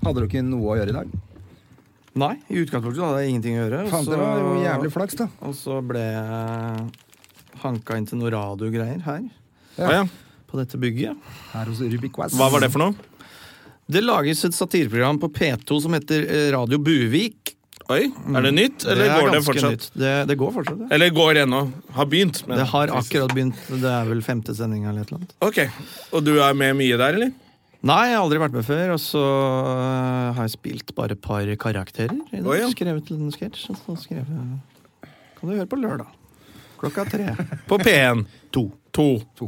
Speaker 2: Hadde du ikke noe å gjøre i dag?
Speaker 3: Nei, i utgangspunktet hadde jeg ingenting å gjøre. og
Speaker 2: Faen,
Speaker 3: så-
Speaker 2: det var jo jævlig flaks, da.
Speaker 3: Og så ble jeg hanka inn til noe radiogreier her,
Speaker 1: Å ja.
Speaker 3: på dette bygget.
Speaker 2: Her hos Rubik West.
Speaker 1: Hva var det for noe?
Speaker 3: Det lages et satireprogram på P2 som heter eh, Radio Buvik.
Speaker 1: Oi, Er det nytt, eller
Speaker 3: Mm. er
Speaker 1: går det
Speaker 3: ganske
Speaker 1: fortsatt?
Speaker 3: nytt. Det, det går fortsatt, det.
Speaker 1: Eller går ennå. Har begynt. men-
Speaker 3: Det har akkurat begynt. Det er vel femte sending eller et eller annet.
Speaker 1: Ok, Og du er med mye der, eller?
Speaker 3: Nei, jeg har aldri vært med før, og så eh, har jeg spilt bare et par karakterer. I dag.
Speaker 1: Oi, ja.
Speaker 3: Skrevet en sketsj, og så skrev jeg Kan du høre på lørdag. Klokka tre. [LAUGHS]
Speaker 1: På P1. To. To. To.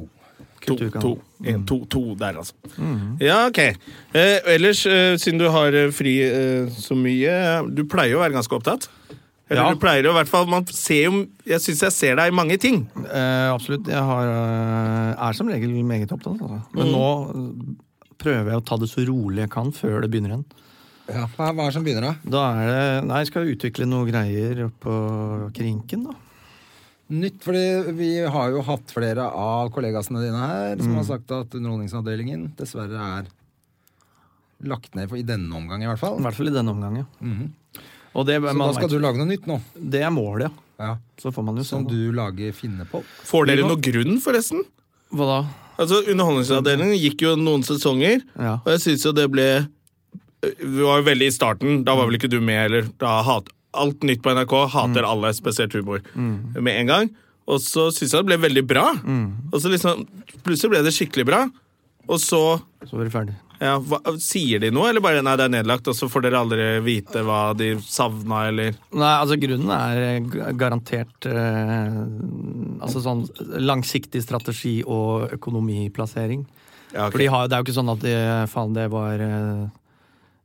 Speaker 1: To,
Speaker 3: Kulturkanal. Mm.
Speaker 1: to, en, to, to der, altså. Ja, ok. Eh, ellers, eh, siden du har eh, fri eh, så mye eh, Du pleier jo å være ganske opptatt? Eller
Speaker 3: Ja.
Speaker 1: du pleier jo i hvert fall man ser jo, Jeg syns jeg ser deg i mange ting.
Speaker 3: Eh, absolutt. Jeg har, eh, er som regel meget opptatt. Altså.
Speaker 2: Mm.
Speaker 3: Men nå eh, prøver jeg å ta det så rolig jeg kan før det begynner igjen.
Speaker 2: Ja, hva hva er det som begynner, da?
Speaker 3: Da er det Nei, jeg skal utvikle noen greier på Krinken, da.
Speaker 2: Nytt, fordi vi har jo hatt flere av kollegasene dine her
Speaker 1: Mm.
Speaker 2: som har sagt at Underholdningsavdelingen dessverre er lagt ned, for i denne omgang i hvert fall.
Speaker 3: I hvert fall i denne omgang, ja. Og det,
Speaker 2: Mhm. Så
Speaker 3: man
Speaker 2: da skal du
Speaker 3: vet-
Speaker 2: lage noe nytt nå,
Speaker 3: det er målet, ja.
Speaker 2: ja,
Speaker 3: Så får man jo se.
Speaker 2: som
Speaker 3: da.
Speaker 2: du lager finne på.
Speaker 1: Får dere noe grunn, forresten?
Speaker 3: Hva da?
Speaker 1: Altså, Underholdningsavdelingen gikk jo noen sesonger,
Speaker 3: Mm. Ja.
Speaker 1: og jeg syns jo det ble Vi var jo veldig i starten. Da var vel ikke du med, eller? Da hat, alt nytt på NRK hater
Speaker 3: Mm.
Speaker 1: alle, spesielt humor, med en gang. Og så syns jeg det ble veldig bra.
Speaker 3: Mm.
Speaker 1: Og så liksom, plutselig ble det skikkelig bra. Og så
Speaker 3: Så var vi ferdig.
Speaker 1: ja, hva, Sier de noe, eller bare 'nei, det er nedlagt', og så får dere aldri vite hva de savna, eller
Speaker 3: Nei, altså grunnen er eh, ga- garantert eh, altså sånn langsiktig strategi og økonomiplassering.
Speaker 1: ja, ok.
Speaker 3: For de har, det er jo ikke sånn at de, faen, det var eh,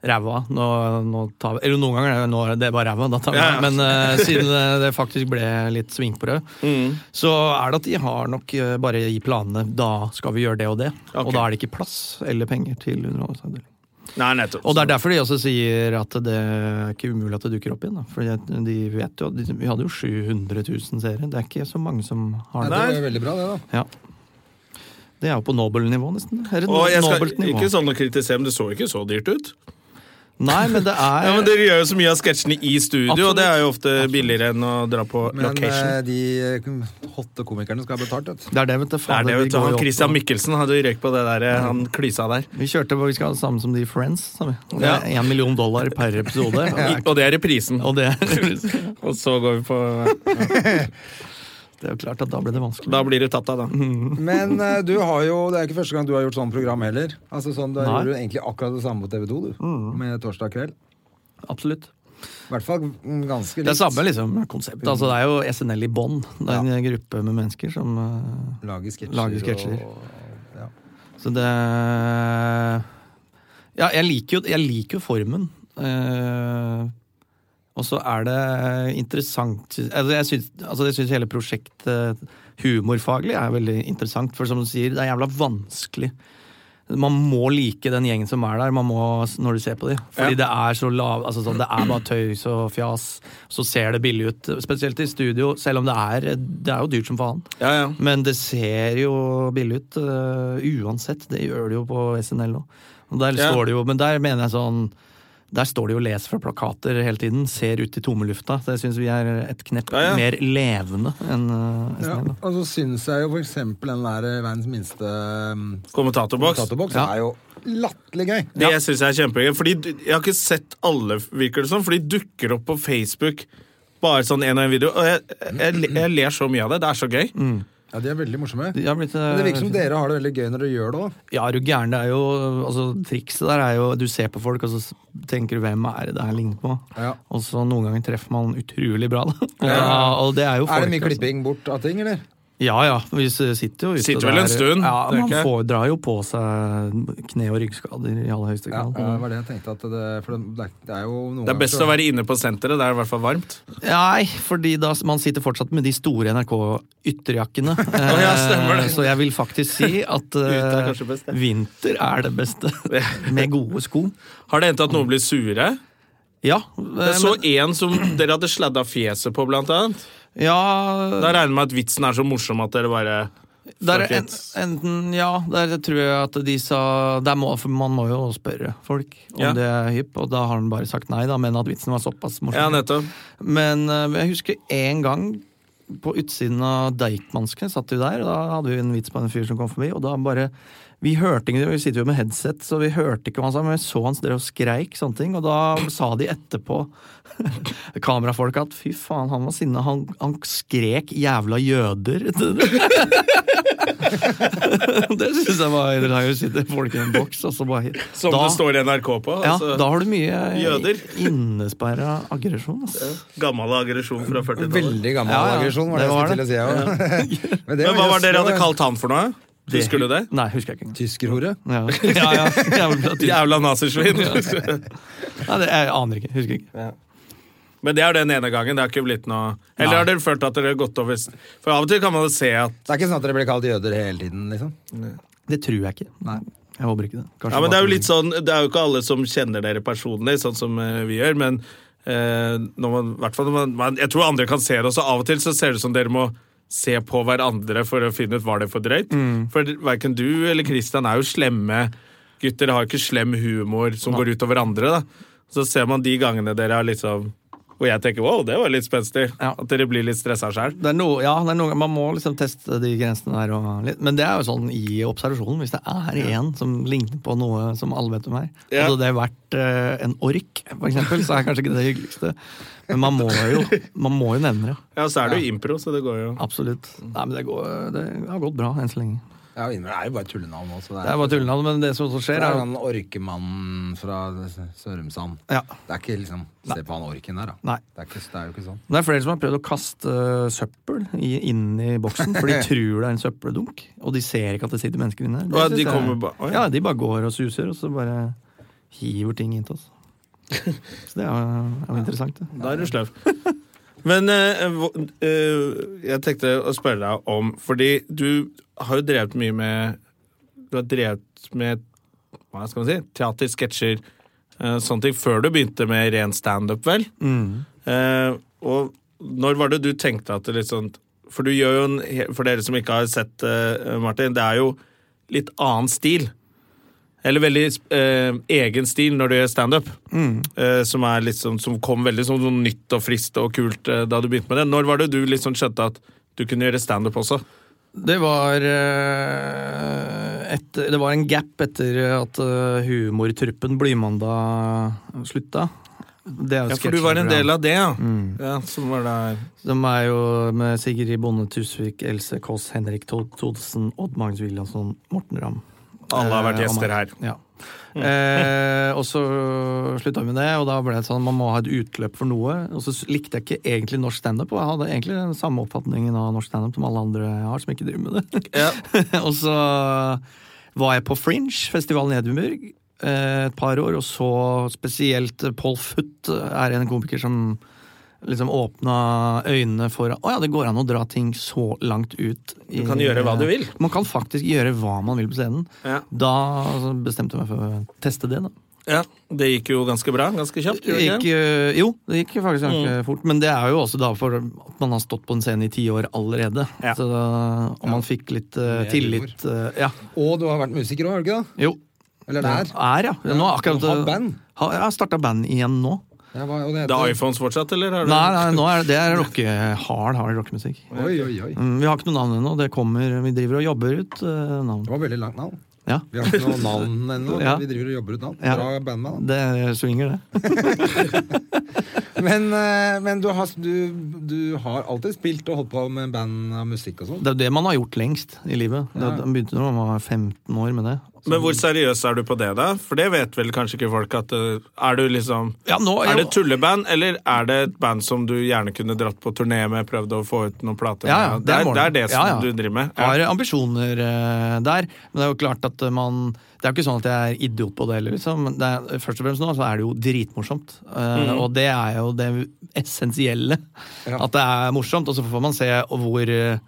Speaker 3: ræva. Nå, nå tar vi, eller noen ganger er det, nå, er det var ræva, da tar vi
Speaker 1: Ja, ja.
Speaker 3: det. Men eh, siden eh, det faktisk ble litt sving på det,
Speaker 1: Mm.
Speaker 3: så er det at de har nok eh, bare i planene da skal vi gjøre det og det.
Speaker 1: Ok.
Speaker 3: Og da er det ikke plass eller penger til underholdningsavdeling.
Speaker 1: Nei, nettopp.
Speaker 3: Og det er derfor de også sier at det er ikke umulig at det dukker opp igjen. Da. For de- de vet jo at de, vi hadde jo 700 000 seere. Det er ikke så mange som
Speaker 2: Nei,
Speaker 3: har
Speaker 2: det
Speaker 3: det.
Speaker 2: var jo veldig bra, det, da.
Speaker 3: Ja. Det er jo på nobel-nivå, nesten. Eller
Speaker 1: og jeg skal,
Speaker 3: nobelt nivå.
Speaker 1: ikke sånn å kritisere, men det så ikke så dyrt ut.
Speaker 3: Nei, men det er
Speaker 1: Ja, men Dere gjør jo så mye av sketsjene i studio, og det
Speaker 3: Absolutt.
Speaker 1: er jo ofte billigere enn å dra på
Speaker 2: Men
Speaker 1: location.
Speaker 2: eh, de eh, hotte komikerne skal ha betalt, vet du.
Speaker 3: Det er det, vet du.
Speaker 1: Det er
Speaker 3: Fader,
Speaker 1: det,
Speaker 3: vi
Speaker 1: vet du.
Speaker 3: går
Speaker 1: Han
Speaker 3: jo opp
Speaker 1: Christian
Speaker 3: på-
Speaker 1: Mikkelsen hadde jo røyk på det der, eh, han klysa der.
Speaker 3: Vi kjørte på, vi skal ha det samme som de i Friends. Sa vi. Og Det
Speaker 1: Ja.
Speaker 3: er én million dollar per [LAUGHS] episode. Og det
Speaker 1: I,
Speaker 3: er,
Speaker 1: og det er reprisen.
Speaker 3: og [LAUGHS] det,
Speaker 1: Og så går vi på eh,
Speaker 3: det er jo klart at da ble det vanskelig.
Speaker 1: Da blir du tatt av, da.
Speaker 3: Mhm.
Speaker 2: Men eh, du har jo, det er ikke første gang du har gjort sånn program heller. Altså sånn, Du
Speaker 3: Nei. Mm.
Speaker 2: gjorde jo egentlig akkurat det samme på TV 2 du, med Torsdag kveld.
Speaker 3: Absolutt.
Speaker 2: I hvert fall mm, ganske likt.
Speaker 3: Det er samme liksom, konsept. Altså, det er jo SNL i bånn. Det er en gruppe med mennesker som eh,
Speaker 2: Lage sketsjer.
Speaker 3: Lage sketsjer.
Speaker 2: og- Ja.
Speaker 3: Så det Ja, jeg liker jo, jeg liker jo formen. Eh, og så er det interessant sy- altså Jeg syns altså jeg syns hele prosjektet humorfaglig er veldig interessant. For som du sier, det er jævla vanskelig. Man må like den gjengen som er der man må, når du ser på dem. Fordi det er så lav, altså sånn, det er bare tøys og fjas. Så ser det billig ut. Spesielt i studio, selv om det er, det er jo dyrt som faen.
Speaker 1: Ja, ja.
Speaker 3: Men det ser jo billig ut øh, uansett. Det gjør det jo på SNL òg. Der
Speaker 1: Ja.
Speaker 3: står det jo, men der mener jeg sånn Der står det jo 'les fra plakater' hele tiden. Ser ut i tomme lufta. Så jeg syns vi er et knepp
Speaker 1: Ja, ja.
Speaker 3: mer levende enn øh,
Speaker 2: Ja,
Speaker 3: SNL. da.
Speaker 2: og så syns jeg jo for eksempel den der eh, verdens minste mm,
Speaker 1: Kommentatorboks.
Speaker 2: databoks
Speaker 3: Ja.
Speaker 2: er jo latterlig gøy.
Speaker 1: Det syns jeg er kjempegøy. Fordi du- Jeg har ikke sett alle, virker det som, for de dukker opp på Facebook. Bare sånn en og en video. Og jeg, jeg, jeg, ler så mye av det. Det er så gøy.
Speaker 3: Mm.
Speaker 2: Ja, de er veldig morsomme.
Speaker 3: De har blitt, øh,
Speaker 2: Men det virker som dere har det veldig gøy når dere gjør det òg.
Speaker 3: Ja, er du gæren. Det er jo altså, Trikset der er jo Du ser på folk, og så s- tenker du 'hvem er det det her ligner på'?
Speaker 2: Ja.
Speaker 3: Og så noen ganger treffer man utrolig bra, da. Ja. og det er jo folk,
Speaker 2: Er det mye
Speaker 3: altså.
Speaker 2: klipping bort av ting, eller?
Speaker 3: Ja ja, vi s- sitter jo ute
Speaker 1: Sitter vel en stund,
Speaker 3: Ja,
Speaker 1: det er
Speaker 3: Man
Speaker 1: ikke-
Speaker 3: får, drar jo på seg kne- og ryggskader i aller høyeste
Speaker 2: Ja,
Speaker 3: grad.
Speaker 2: det var det jeg tenkte. At det, for det, er- det er jo noen
Speaker 1: Det er best
Speaker 2: ganger
Speaker 1: å
Speaker 2: så-
Speaker 1: være inne på senteret. Det er i hvert fall varmt.
Speaker 3: Nei, fordi da, man sitter fortsatt med de store NRK-ytterjakkene.
Speaker 1: [LAUGHS]
Speaker 3: Eh,
Speaker 1: ja, stemmer det.
Speaker 3: Så jeg vil faktisk si at
Speaker 1: [LAUGHS] Ute er
Speaker 3: eh,
Speaker 1: kanskje best, ja.
Speaker 3: vinter er det beste.
Speaker 1: [LAUGHS]
Speaker 3: Med gode sko.
Speaker 1: Har det hendt at noen blir sure?
Speaker 3: Ja.
Speaker 1: Jeg
Speaker 3: eh,
Speaker 1: så
Speaker 3: men-
Speaker 1: en som dere hadde sladda fjeset på, blant annet.
Speaker 3: ja
Speaker 1: Da regner jeg med at vitsen er så morsom at dere bare
Speaker 3: Der,
Speaker 1: Fuck
Speaker 3: en,
Speaker 1: it.
Speaker 3: enten, ja, der tror jeg at de sa der må, for Man må jo spørre folk om
Speaker 1: Ja.
Speaker 3: det er hypp, og da har han bare sagt nei, da, men at vitsen var såpass
Speaker 1: Ja,
Speaker 3: morsom.
Speaker 1: nettopp.
Speaker 3: men eh, jeg husker én gang på utsiden av Deichmanskene satt vi der, og da hadde vi en vits på en fyr som kom forbi, og da bare Vi hørte ikke, vi sitter jo med headset, så vi hørte ikke hva han sa, men vi så han drev og skreik sånne ting, og da sa de etterpå, [LAUGHS] kamerafolka, at fy faen, han var sinna, han, han skrek jævla jøder. [LAUGHS] det syns jeg var interessant. å sitte folk i en boks, og så bare
Speaker 1: Som
Speaker 3: da,
Speaker 1: det står NRK på.
Speaker 3: ja,
Speaker 1: altså,
Speaker 3: da har du mye
Speaker 1: Jøder.
Speaker 3: innesperra aggresjon, ass.
Speaker 1: Gammel aggresjon fra 40-tallet.
Speaker 2: Veldig gammel
Speaker 3: Ja, ja,
Speaker 2: aggresjon, var det,
Speaker 3: det var
Speaker 2: jeg skulle til å si. Ja. [LAUGHS] Men
Speaker 3: [LAUGHS]
Speaker 2: det
Speaker 1: Men hva var det dere hadde kalt han for noe?
Speaker 3: Det-
Speaker 1: Husker du det?
Speaker 3: Nei, husker jeg ikke engang.
Speaker 2: Tyskerhore.
Speaker 3: Ja, [LAUGHS] ja, ja. Jævla tysk.
Speaker 1: Jævla nazisvin.
Speaker 3: Nei, det, jeg aner ikke. Husker ikke.
Speaker 1: [LAUGHS] Men det er den ene gangen. Det har ikke blitt noe Eller har dere følt at dere har gått over For av og til kan man jo se at
Speaker 2: Det er ikke sånn at dere blir kalt jøder hele tiden, liksom?
Speaker 3: Det tror jeg ikke. Nei. Jeg håper ikke det. Kanskje
Speaker 1: Ja, men det er jo
Speaker 3: bare-
Speaker 1: litt sånn Det er jo ikke alle som kjenner dere personlig, sånn som eh, vi gjør, men eh, når man, i hvert fall når man, man Jeg tror andre kan se det også. Av og til så ser det ut som dere må se på hverandre for å finne ut var det for drøyt. For verken du eller Christian er jo slemme gutter, har ikke slem humor som går ut over andre, da. Så ser man de gangene dere har liksom Hvor jeg tenker wow, det var litt spenstig.
Speaker 3: Ja.
Speaker 1: At dere blir litt stressa sjøl.
Speaker 3: det er noe, ja, det er noe, man må liksom teste de grensene der. Og litt, men det er jo sånn i observasjonen. Hvis det er én som ligner på noe som alle vet om her,
Speaker 1: Ja.
Speaker 3: hadde det vært eh, en ork, for eksempel, så er kanskje ikke det hyggeligste. Men man må jo, man må jo nevne det.
Speaker 1: Ja, så er det jo impro, så det går jo
Speaker 3: Absolutt. Nei, men det, går, det har gått bra enn så lenge.
Speaker 2: Ja, men det er jo bare tullenavn også.
Speaker 3: Det er bare tullenavn, men det som også
Speaker 2: Det
Speaker 3: skjer,
Speaker 2: er
Speaker 3: er jo
Speaker 2: han orkemannen fra Sørumsand.
Speaker 3: Ja.
Speaker 2: Det er ikke liksom Se på han orken der, da.
Speaker 3: Nei.
Speaker 2: Det, er ikke, det er jo ikke sånn.
Speaker 3: det er flere som har prøvd å kaste eh, søppel i, inn i boksen, for [LAUGHS] de tror det er en søppeldunk. Og de ser ikke at det sitter mennesker inne. Det
Speaker 1: Å, ja,
Speaker 3: synes
Speaker 1: de
Speaker 3: jeg-
Speaker 1: kommer ba- å, ja.
Speaker 3: ja. de bare går og suser, og så bare hiver ting inntil [LAUGHS] oss. Så det er jo, er jo interessant, det.
Speaker 1: Da er du sløv. Men eh, hva- eh, jeg tenkte å spørre deg om Fordi du har jo drevet mye med Du har drevet med hva skal man si, teater, sketsjer, eh, sånne ting, før du begynte med ren standup, vel? Eh, og når var det du tenkte at det litt sånn For du gjør jo en he- For dere som ikke har sett eh, Martin, det er jo litt annen stil. Eller veldig eh, egen stil når du gjør standup. Eh, som, er litt sånn- som kom veldig sånn, sånn nytt og friskt og kult eh, da du begynte med det. Når var det du liksom skjønte at du kunne gjøre standup også?
Speaker 3: Det var eh, et, Det var en gap etter at eh, humortruppen Blymandag slutta. Det er jo
Speaker 1: Ja, for du var en
Speaker 3: sketsjeprogram.
Speaker 1: del av det, ja. ja som var der.
Speaker 3: De er jo med Sigrid Bonde Tusvik, Else Kåss, Henrik Tho- Thodesen, Odd Magnus Williamson, Morten Ramm.
Speaker 1: Alle har vært
Speaker 3: Eh, og
Speaker 1: gjester
Speaker 3: meg.
Speaker 1: her. Mm.
Speaker 3: Ja. Eh, og så slutta vi med det, og da ble det sånn man må ha et utløp for noe. Og så s- likte jeg ikke egentlig norsk standup, og jeg hadde egentlig den samme oppfatningen av norsk standup som alle andre har som ikke driver med det. [LAUGHS] og så var jeg på Fringe, festivalen i Edinburgh, eh, et par år, og så spesielt Paul Foot er en komiker som liksom åpna øynene for Å ja, det går an å dra ting så langt ut. i-
Speaker 1: Du kan gjøre hva du vil.
Speaker 3: Man kan faktisk gjøre hva man vil på scenen.
Speaker 1: Ja.
Speaker 3: Da altså, bestemte jeg meg for å teste det, da.
Speaker 1: Ja, Det gikk jo ganske bra. Ganske kjapt.
Speaker 3: Det
Speaker 1: gjorde det Mm.
Speaker 3: gikk,
Speaker 1: ikke?
Speaker 3: øh, jo, det gikk faktisk ganske fort, men det er jo også da for at man har stått på en scene i ti år allerede.
Speaker 1: Ja.
Speaker 3: Så da, og man fikk litt øh,
Speaker 2: Mer
Speaker 3: tillit. øh, ja,
Speaker 2: Og du har vært musiker òg, har du ikke det?
Speaker 3: jo.
Speaker 2: Eller
Speaker 3: Er,
Speaker 2: der?
Speaker 3: ja. Nå er akkurat,
Speaker 2: Du har band.
Speaker 3: Har- jeg har starta band igjen nå.
Speaker 2: Ja, hva, og det
Speaker 1: Det
Speaker 2: heter
Speaker 1: er iPhones fortsatt, eller? har du-
Speaker 3: Nei, nei nå er det, det er rocke, hard, hard rockemusikk.
Speaker 2: Oi, oi, oi.
Speaker 3: Mm, Vi har ikke noe navn ennå. Det kommer, vi driver og jobber ut øh, navn.
Speaker 2: Det var veldig langt navn.
Speaker 3: Ja,
Speaker 2: Vi har
Speaker 3: [LAUGHS]
Speaker 2: ikke noe navn ennå.
Speaker 3: Ja.
Speaker 2: Vi driver og jobber ut navn.
Speaker 3: Ja.
Speaker 2: Bra bandnavn.
Speaker 3: det swinger, det.
Speaker 2: Men, eh, men du, har, du, du har alltid spilt og holdt på med band og musikk og sånn.
Speaker 3: Det er jo det man har gjort lengst i livet. Det, man begynte når man var 15 år med det.
Speaker 1: Men hvor seriøs er du på det, da? For det vet vel kanskje ikke folk at eh, Er du liksom
Speaker 3: Ja, nå,
Speaker 1: Er det et tulleband, eller er det et band som du gjerne kunne dratt på turné med, prøvd å få ut noen plater
Speaker 3: Ja, ja,
Speaker 1: med?
Speaker 3: det er
Speaker 1: det
Speaker 3: målet.
Speaker 1: er det som
Speaker 3: Ja, ja.
Speaker 1: du driver med?
Speaker 3: har ambisjoner eh, der, men det er jo klart at eh, man Det er jo ikke sånn at jeg er idiot på det heller, liksom. men Det er, først og fremst nå så er det jo dritmorsomt. Eh,
Speaker 1: Mm.
Speaker 3: Og det er jo det essensielle. At det er morsomt, og så får man se hvor eh,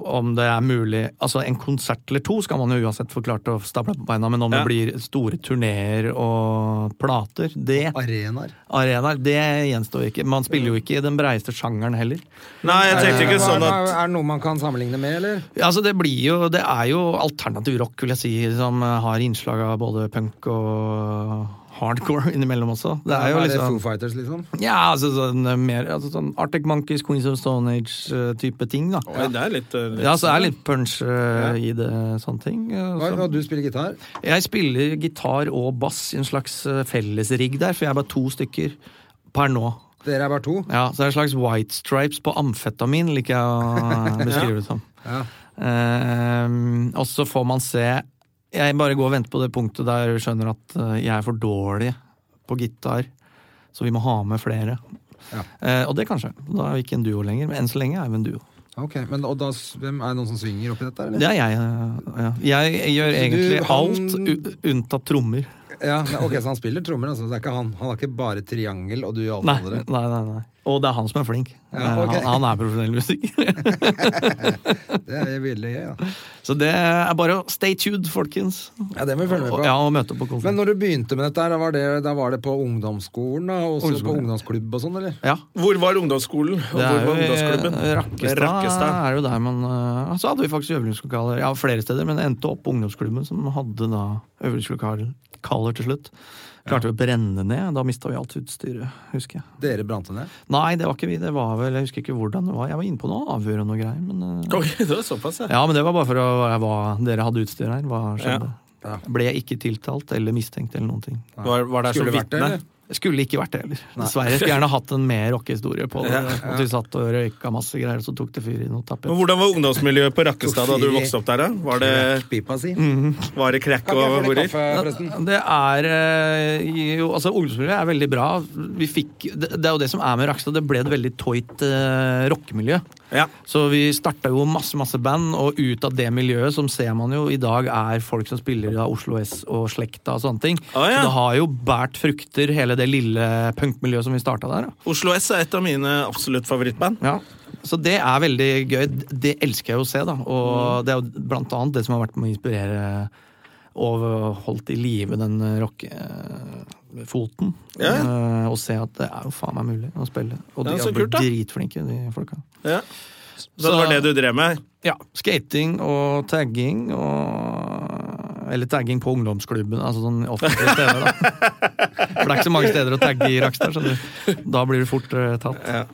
Speaker 3: om det er mulig Altså En konsert eller to skal man jo uansett få klart å stable på beina, men om
Speaker 1: Ja.
Speaker 3: det blir store turneer og plater, det
Speaker 2: Arenaer.
Speaker 3: arenaer, det gjenstår ikke. Man spiller jo ikke i den breieste sjangeren heller.
Speaker 1: Nei, jeg tenkte ikke
Speaker 2: Eh, hva-
Speaker 1: sånn at
Speaker 2: hva- Er det noe man kan sammenligne med, eller?
Speaker 3: Ja, altså det, blir jo, det er jo alternativ rock, vil jeg si, som eh, har innslag av både punk og hardcore innimellom også. Det er jo
Speaker 2: er det
Speaker 3: liksom
Speaker 2: Foo Fighters, liksom?
Speaker 3: Ja, altså sånn eh, mer altså sånn Arctic Monkeys, Queens of Stone Age-type ting, da.
Speaker 1: Oi, det er litt, eh, litt
Speaker 3: Ja, så det er litt punch eh, i det, sånne ting. eh,
Speaker 2: Hva-
Speaker 3: så-
Speaker 2: Og du spiller gitar?
Speaker 3: jeg spiller gitar og bass i en slags eh, fellesrigg der, for jeg er bare to stykker per nå.
Speaker 2: Dere er bare to?
Speaker 3: Ja, så det er en slags white stripes på amfetamin,
Speaker 2: [LAUGHS]
Speaker 3: liker jeg å eh, beskrive det som. Ehm, og så får man se Jeg bare går og venter på det punktet der jeg skjønner at eh, jeg er for dårlig på gitar, så vi må ha med flere.
Speaker 2: Ja.
Speaker 3: Eh, og det kanskje. Da er vi ikke en duo lenger, men enn så lenge er vi en duo.
Speaker 2: Ok, men og da, s- hvem, Er det noen som svinger oppi dette? eller?
Speaker 3: Det er jeg. eh, ja. Jeg gjør egentlig
Speaker 2: han-
Speaker 3: alt u unntatt trommer.
Speaker 2: Ja, men ok, Så han spiller trommer, altså. Det er ikke han. Han har ikke bare triangel og du og alle
Speaker 3: Nei,
Speaker 2: andre.
Speaker 3: nei, nei, nei. Og det er han som er flink. Eh,
Speaker 2: Ja, ok.
Speaker 3: han, han er profesjonell musiker.
Speaker 2: Det er veldig gøy, ja.
Speaker 3: [LAUGHS] Så det er bare å stay tuned, folkens.
Speaker 2: ja det må vi følge med
Speaker 3: Og,
Speaker 2: på.
Speaker 3: ja, og møte opp på
Speaker 2: Men
Speaker 3: konsert.
Speaker 2: når du begynte med dette, her, da var det, da var det på ungdomsskolen da, og så på
Speaker 3: Ungdomsskolen, ja.
Speaker 2: ungdomsklubb og sånn, eller?
Speaker 3: Ja,
Speaker 1: Hvor var ungdomsskolen? Og
Speaker 3: det
Speaker 1: hvor var
Speaker 3: er jo i
Speaker 1: ungdomsklubben?
Speaker 3: Rakkestad.
Speaker 1: Rakkestad.
Speaker 3: Er jo der man, eh, så hadde vi faktisk øvingslokaler ja, flere steder, men endte opp på ungdomsklubben som hadde da øvingslokaler kaller til slutt. Klarte vi å brenne ned. Da mista vi alt utstyret, husker jeg.
Speaker 2: Dere brant det ned?
Speaker 3: Nei, det var ikke vi. Det var vel, Jeg husker ikke hvordan det var. Jeg var inne på noe avgjørende og greier. Men, eh,
Speaker 1: Oi, det var såpass, ja.
Speaker 3: Ja, men det var bare for å være hva dere hadde utstyr her. Hva skjedde?
Speaker 2: Ja.
Speaker 3: Ble jeg ikke tiltalt eller mistenkt eller noen ting.
Speaker 1: Var, var der som
Speaker 2: Skulle vært det,
Speaker 1: vitne?
Speaker 2: eller?
Speaker 3: Jeg skulle ikke vært det heller. Dessverre. Jeg skulle gjerne hatt en mer rockehistorie på det. At vi satt og røyka masse greier, så tok det fyr i noe tapet.
Speaker 1: Men Hvordan var ungdomsmiljøet på Rakkestad da du
Speaker 2: Fy-
Speaker 1: vokste opp der? da? Var det,
Speaker 2: Pipa si.
Speaker 1: var det crack
Speaker 2: Kan jeg
Speaker 1: og
Speaker 2: få litt
Speaker 1: horer?
Speaker 2: kaffe, forresten?
Speaker 3: Det er eh, jo Altså, ungdomsmiljøet er veldig bra. Vi fikk Det det er jo det som er med Rakstad. Det ble et veldig toit eh, rockemiljø.
Speaker 1: Ja.
Speaker 3: Så vi starta jo masse, masse band, og ut av det miljøet som ser man jo i dag er folk som spiller av Oslo S og slekta og sånne ting.
Speaker 1: Å, ja.
Speaker 3: Så det har jo båret frukter, hele det lille punkmiljøet som vi starta der. da.
Speaker 1: Oslo S er et av mine absolutt favorittband.
Speaker 3: Ja. Så det er veldig gøy. Det elsker jeg å se, da.
Speaker 1: Mm.
Speaker 3: Og det er jo blant annet det som har vært med å inspirere og holdt i live den rockefoten. Eh, Og se at det er jo faen meg mulig å spille. Og de
Speaker 1: Ja, så
Speaker 3: har
Speaker 1: kult,
Speaker 3: blitt
Speaker 1: da.
Speaker 3: dritflinke, de folka.
Speaker 1: Ja. Så
Speaker 3: Så-
Speaker 1: det var det du drev med?
Speaker 3: Ja, skating og tagging og Eller tagging på ungdomsklubben, altså sånn offentlige steder, da. For det er ikke så mange steder å tagge i Rakstad, skjønner du. Da blir du fort eh, tatt.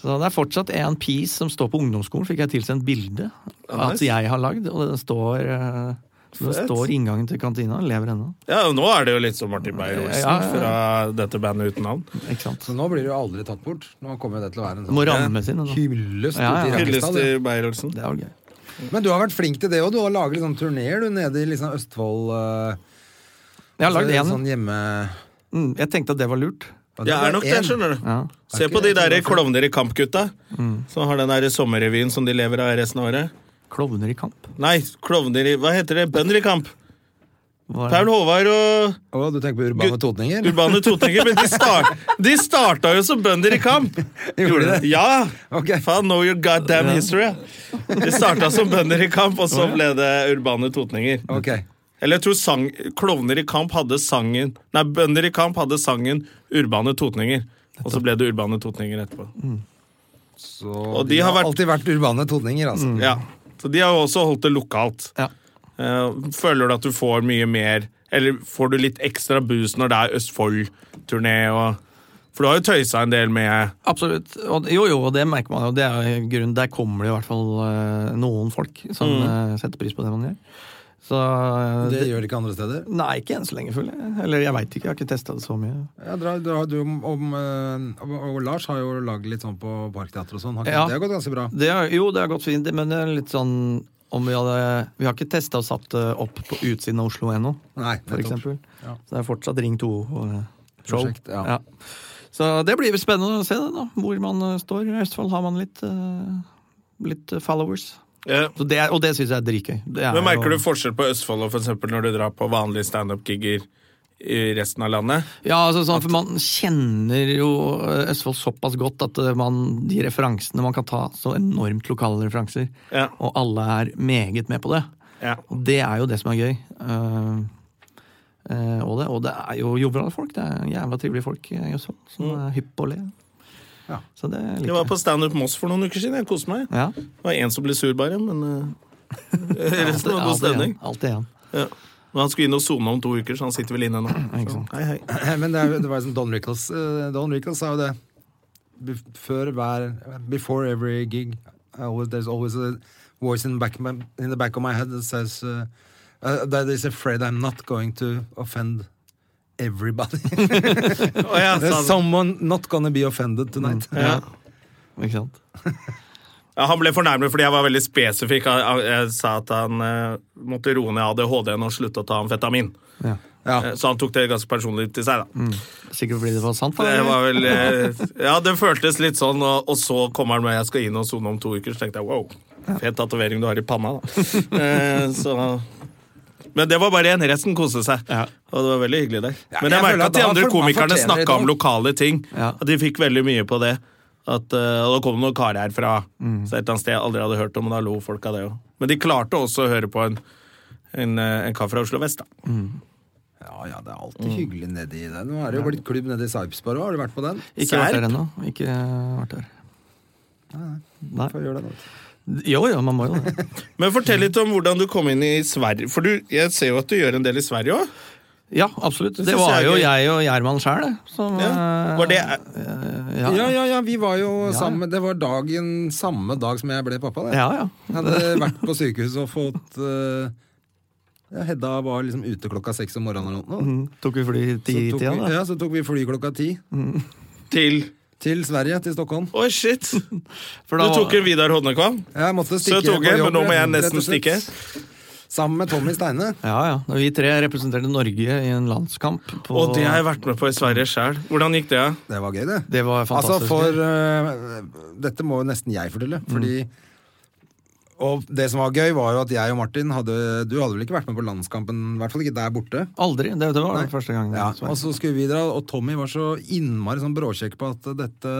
Speaker 3: Så det er fortsatt en piece som står på ungdomsskolen, fikk jeg tilsendt bilde
Speaker 1: Ja,
Speaker 3: at
Speaker 1: nice.
Speaker 3: jeg har lagd, og den står eh, den
Speaker 1: Fett.
Speaker 3: står i inngangen til kantina, den lever ennå.
Speaker 1: Ja, og Nå er det jo litt som Martin Beyer-Olsen
Speaker 3: Ja, ja, ja.
Speaker 1: fra dette bandet uten navn.
Speaker 3: Ikke sant?
Speaker 2: Så altså, nå blir det jo aldri tatt bort. Nå kommer jo det til å være en
Speaker 3: Den må
Speaker 2: sånn
Speaker 3: rammes inn. den da.
Speaker 2: hyllest
Speaker 3: Ja, ja.
Speaker 2: ute i
Speaker 1: Hyllest
Speaker 2: Rakkestad.
Speaker 1: til Beyer-Olsen.
Speaker 3: Det var gøy.
Speaker 2: du. Men du har vært flink til det òg. Du har laget liksom turneer du, nede i liksom Østfold. eh,
Speaker 3: Jeg har lagd
Speaker 2: altså,
Speaker 3: én.
Speaker 2: Sånn hjemme...
Speaker 3: Mm, Jeg tenkte at det var lurt.
Speaker 1: Jeg er nok det,
Speaker 2: en.
Speaker 1: skjønner du.
Speaker 3: Ja.
Speaker 1: Se på de der klovner i kamp-gutta, som har den der sommerrevyen som de lever av resten av året.
Speaker 3: Klovner i kamp.
Speaker 1: Nei, klovner i Hva heter det? Bønder i kamp!
Speaker 3: Var-
Speaker 1: Paul Håvard og
Speaker 2: Å, du tenker på urbane
Speaker 1: Gud-
Speaker 2: totninger?
Speaker 1: Urbane Totninger, men de, start, de starta jo som bønder i kamp!
Speaker 2: Gjorde de det?
Speaker 1: Ja!
Speaker 2: Ok.
Speaker 1: Faen, know your goddamn history. De starta som bønder i kamp, og så ble det Urbane Totninger.
Speaker 2: Ok.
Speaker 1: Eller jeg tror sang, Klovner i kamp hadde sangen Nei, Bønder i kamp hadde sangen Urbane Totninger. Og så ble det Urbane Totninger etterpå.
Speaker 2: Så
Speaker 1: Og de har vært- Mm.
Speaker 2: alltid vært urbane totninger, altså.
Speaker 1: Ja. Så de har jo også holdt det lokalt.
Speaker 3: Ja.
Speaker 1: Eh, Føler du at du får mye mer Eller får du litt ekstra boost når det er Østfold-turné og For du har jo tøysa en del med
Speaker 3: Absolutt. Og, jo, jo, og det merker man jo. Det er jo grunnen. Der kommer det i hvert fall eh, noen folk som eh, setter pris på det man gjør. Så eh,
Speaker 2: Mm. Det
Speaker 3: det,
Speaker 2: gjør de ikke andre steder.
Speaker 3: Nei, ikke enn så lenge, føler jeg. Eller jeg veit ikke, jeg har ikke testa det så mye.
Speaker 2: Ja, dra, dra, du, om, eh, og, og Lars har jo laget litt sånn på Parkteatret og sånn. Har ikke-
Speaker 3: Ja.
Speaker 2: Det har gått ganske bra.
Speaker 3: Det er, jo, det har gått fint, men det er litt sånn om vi hadde Vi har ikke testa og satt det opp på utsiden av Oslo ennå,
Speaker 2: Nei,
Speaker 3: for eksempel.
Speaker 2: Ja.
Speaker 3: Så det er fortsatt Ring 2-show.
Speaker 2: Prosjekt, ja.
Speaker 3: Så det blir spennende å se det, da. Hvor man eh, står. I Østfold har man litt, eh, litt eh, followers.
Speaker 1: eh,
Speaker 3: Så det er, og det syns jeg er dritgøy. Det er
Speaker 1: Men merker du
Speaker 3: jo-
Speaker 1: forskjell på Østfold og for eksempel når du drar på vanlige standup-gigger i resten av landet?
Speaker 3: Ja, altså, sånn, for man kjenner jo eh, Østfold såpass godt at eh, man, de referansene man kan ta, så enormt lokale referanser.
Speaker 1: Ja.
Speaker 3: Og alle er meget med på det.
Speaker 1: Ja.
Speaker 3: Og det er jo det som er gøy. Eh, eh, og, det, og det er jo joviale folk. Det er jævla trivelige folk eh, i Østfold som er hypp på å le.
Speaker 2: Ja.
Speaker 3: Så det
Speaker 1: Jeg
Speaker 3: liker
Speaker 1: Mm. var
Speaker 3: jeg.
Speaker 1: på standup Moss for noen uker siden. Jeg koste meg.
Speaker 3: Ja.
Speaker 1: Det var én som ble sur, bare, men eh, [LAUGHS] resten var god
Speaker 3: Alt igjen.
Speaker 1: stemning.
Speaker 3: Alt igjen.
Speaker 1: Ja. Men han skulle inn og sone om to uker, så han sitter vel inne nå. Så, hei, hei.
Speaker 2: [CLEARS THROAT] Men det, er, jo- det var jo sånn Don Rickles eh, Don Rickles sa jo det Bef- Før hver Before every gig I always, There's always a voice in the back of my, in the back of my head That says uh, uh, That is afraid I'm not going to offend [LAUGHS] Everybody
Speaker 1: Å, ja, sa
Speaker 2: There's
Speaker 1: han.
Speaker 2: someone not gonna be offended tonight
Speaker 1: ja.
Speaker 3: Ikke sant?
Speaker 1: Ja, han ble fornærmet fordi jeg var veldig spesifikk. Jeg, jeg, jeg sa at han eh, måtte roe ned ADHD-en og slutte å ta amfetamin.
Speaker 3: Ja.
Speaker 2: Ja,
Speaker 1: Eh, Så han tok det ganske personlig til seg, da.
Speaker 3: Sikkert fordi det var sant? da,
Speaker 1: Det
Speaker 3: eller?
Speaker 1: var vel eh, Ja, det føltes litt sånn, og, og så kommer han med 'jeg skal inn og sone om [LAUGHS] to uker', så tenkte jeg wow, fet tatovering du har i panna, da. Eh, Så Men det var bare én. Resten koste seg.
Speaker 3: Ja.
Speaker 1: Og det var veldig hyggelig der.
Speaker 2: Ja,
Speaker 1: Men jeg,
Speaker 2: jeg føler at
Speaker 1: merket at de
Speaker 2: han
Speaker 1: andre
Speaker 2: for- han
Speaker 1: komikerne
Speaker 2: fortjener det,
Speaker 1: snakka om
Speaker 2: da.
Speaker 1: lokale ting.
Speaker 3: Ja.
Speaker 1: At de fikk veldig mye på det. At, eh, og da kom det noen karer herfra
Speaker 2: Mm.
Speaker 1: så et eller annet sted jeg aldri hadde hørt om, og da lo folk av det òg. Men de klarte også å høre på en, en, eh, en kar fra Oslo vest, da.
Speaker 2: Ja, ja, det er alltid hyggelig nedi der. Nå er det jo blitt klubb nede i Sarpsborg òg, har du vært på den?
Speaker 3: Ikke vært der ennå. Ikke vært der. Nei.
Speaker 2: Får gjøre det nå.
Speaker 3: Jo, jo, man må jo det.
Speaker 1: Men fortell litt om hvordan du kom inn i Sverige. For du, jeg ser jo at du gjør en del i Sverige òg.
Speaker 3: [LAUGHS] Ja, absolutt.
Speaker 1: Det
Speaker 3: Det
Speaker 1: synes
Speaker 3: var
Speaker 1: jeg er
Speaker 3: jo
Speaker 1: gøy.
Speaker 3: jeg og Gjerman sjæl, som
Speaker 1: Ja.
Speaker 3: eh,
Speaker 1: Var det
Speaker 3: eh,
Speaker 2: Ja, ja,
Speaker 3: ja.
Speaker 2: ja, vi var jo sammen Det var dagen samme dag som jeg ble pappa. Det.
Speaker 3: Ja, ja.
Speaker 2: Jeg hadde vært på sykehuset og fått eh, ja, Hedda var liksom ute klokka seks om morgenen eller noe.
Speaker 3: Mm, Tok vi fly
Speaker 2: Så
Speaker 3: ti i
Speaker 2: tok
Speaker 3: tida,
Speaker 2: vi,
Speaker 3: da?
Speaker 2: ja, så tok vi fly klokka ti
Speaker 1: til
Speaker 2: til Sverige, til Stockholm.
Speaker 1: Oi, [LAUGHS] shit!
Speaker 3: For
Speaker 1: Du
Speaker 3: da-
Speaker 1: tok en Vidar Hodnekvam.
Speaker 2: Jeg måtte
Speaker 1: Så
Speaker 2: stikke
Speaker 1: jeg tok
Speaker 2: på
Speaker 1: en,
Speaker 2: jobb,
Speaker 1: men nå må jeg
Speaker 2: rett og
Speaker 1: nesten
Speaker 2: slett.
Speaker 1: stikke.
Speaker 2: Sammen med Tommy Steine.
Speaker 3: Ja, ja. Da Vi tre representerte Norge i en landskamp. På,
Speaker 1: Og det har jeg vært med på i Sverige sjøl. Hvordan gikk det? ja?
Speaker 2: Det var gøy, det.
Speaker 3: Det var
Speaker 2: Altså
Speaker 3: fantastisk. Mm.
Speaker 2: for øh, Dette må jo nesten jeg fortelle, fordi Og det som var gøy, var jo at jeg og Martin hadde Du hadde vel ikke vært med på landskampen, i hvert fall ikke der borte.
Speaker 3: Aldri. Det, det var den første gangen.
Speaker 2: Ja, altså- og så skulle vi dra, og Tommy var så innmari sånn bråkjekk på at dette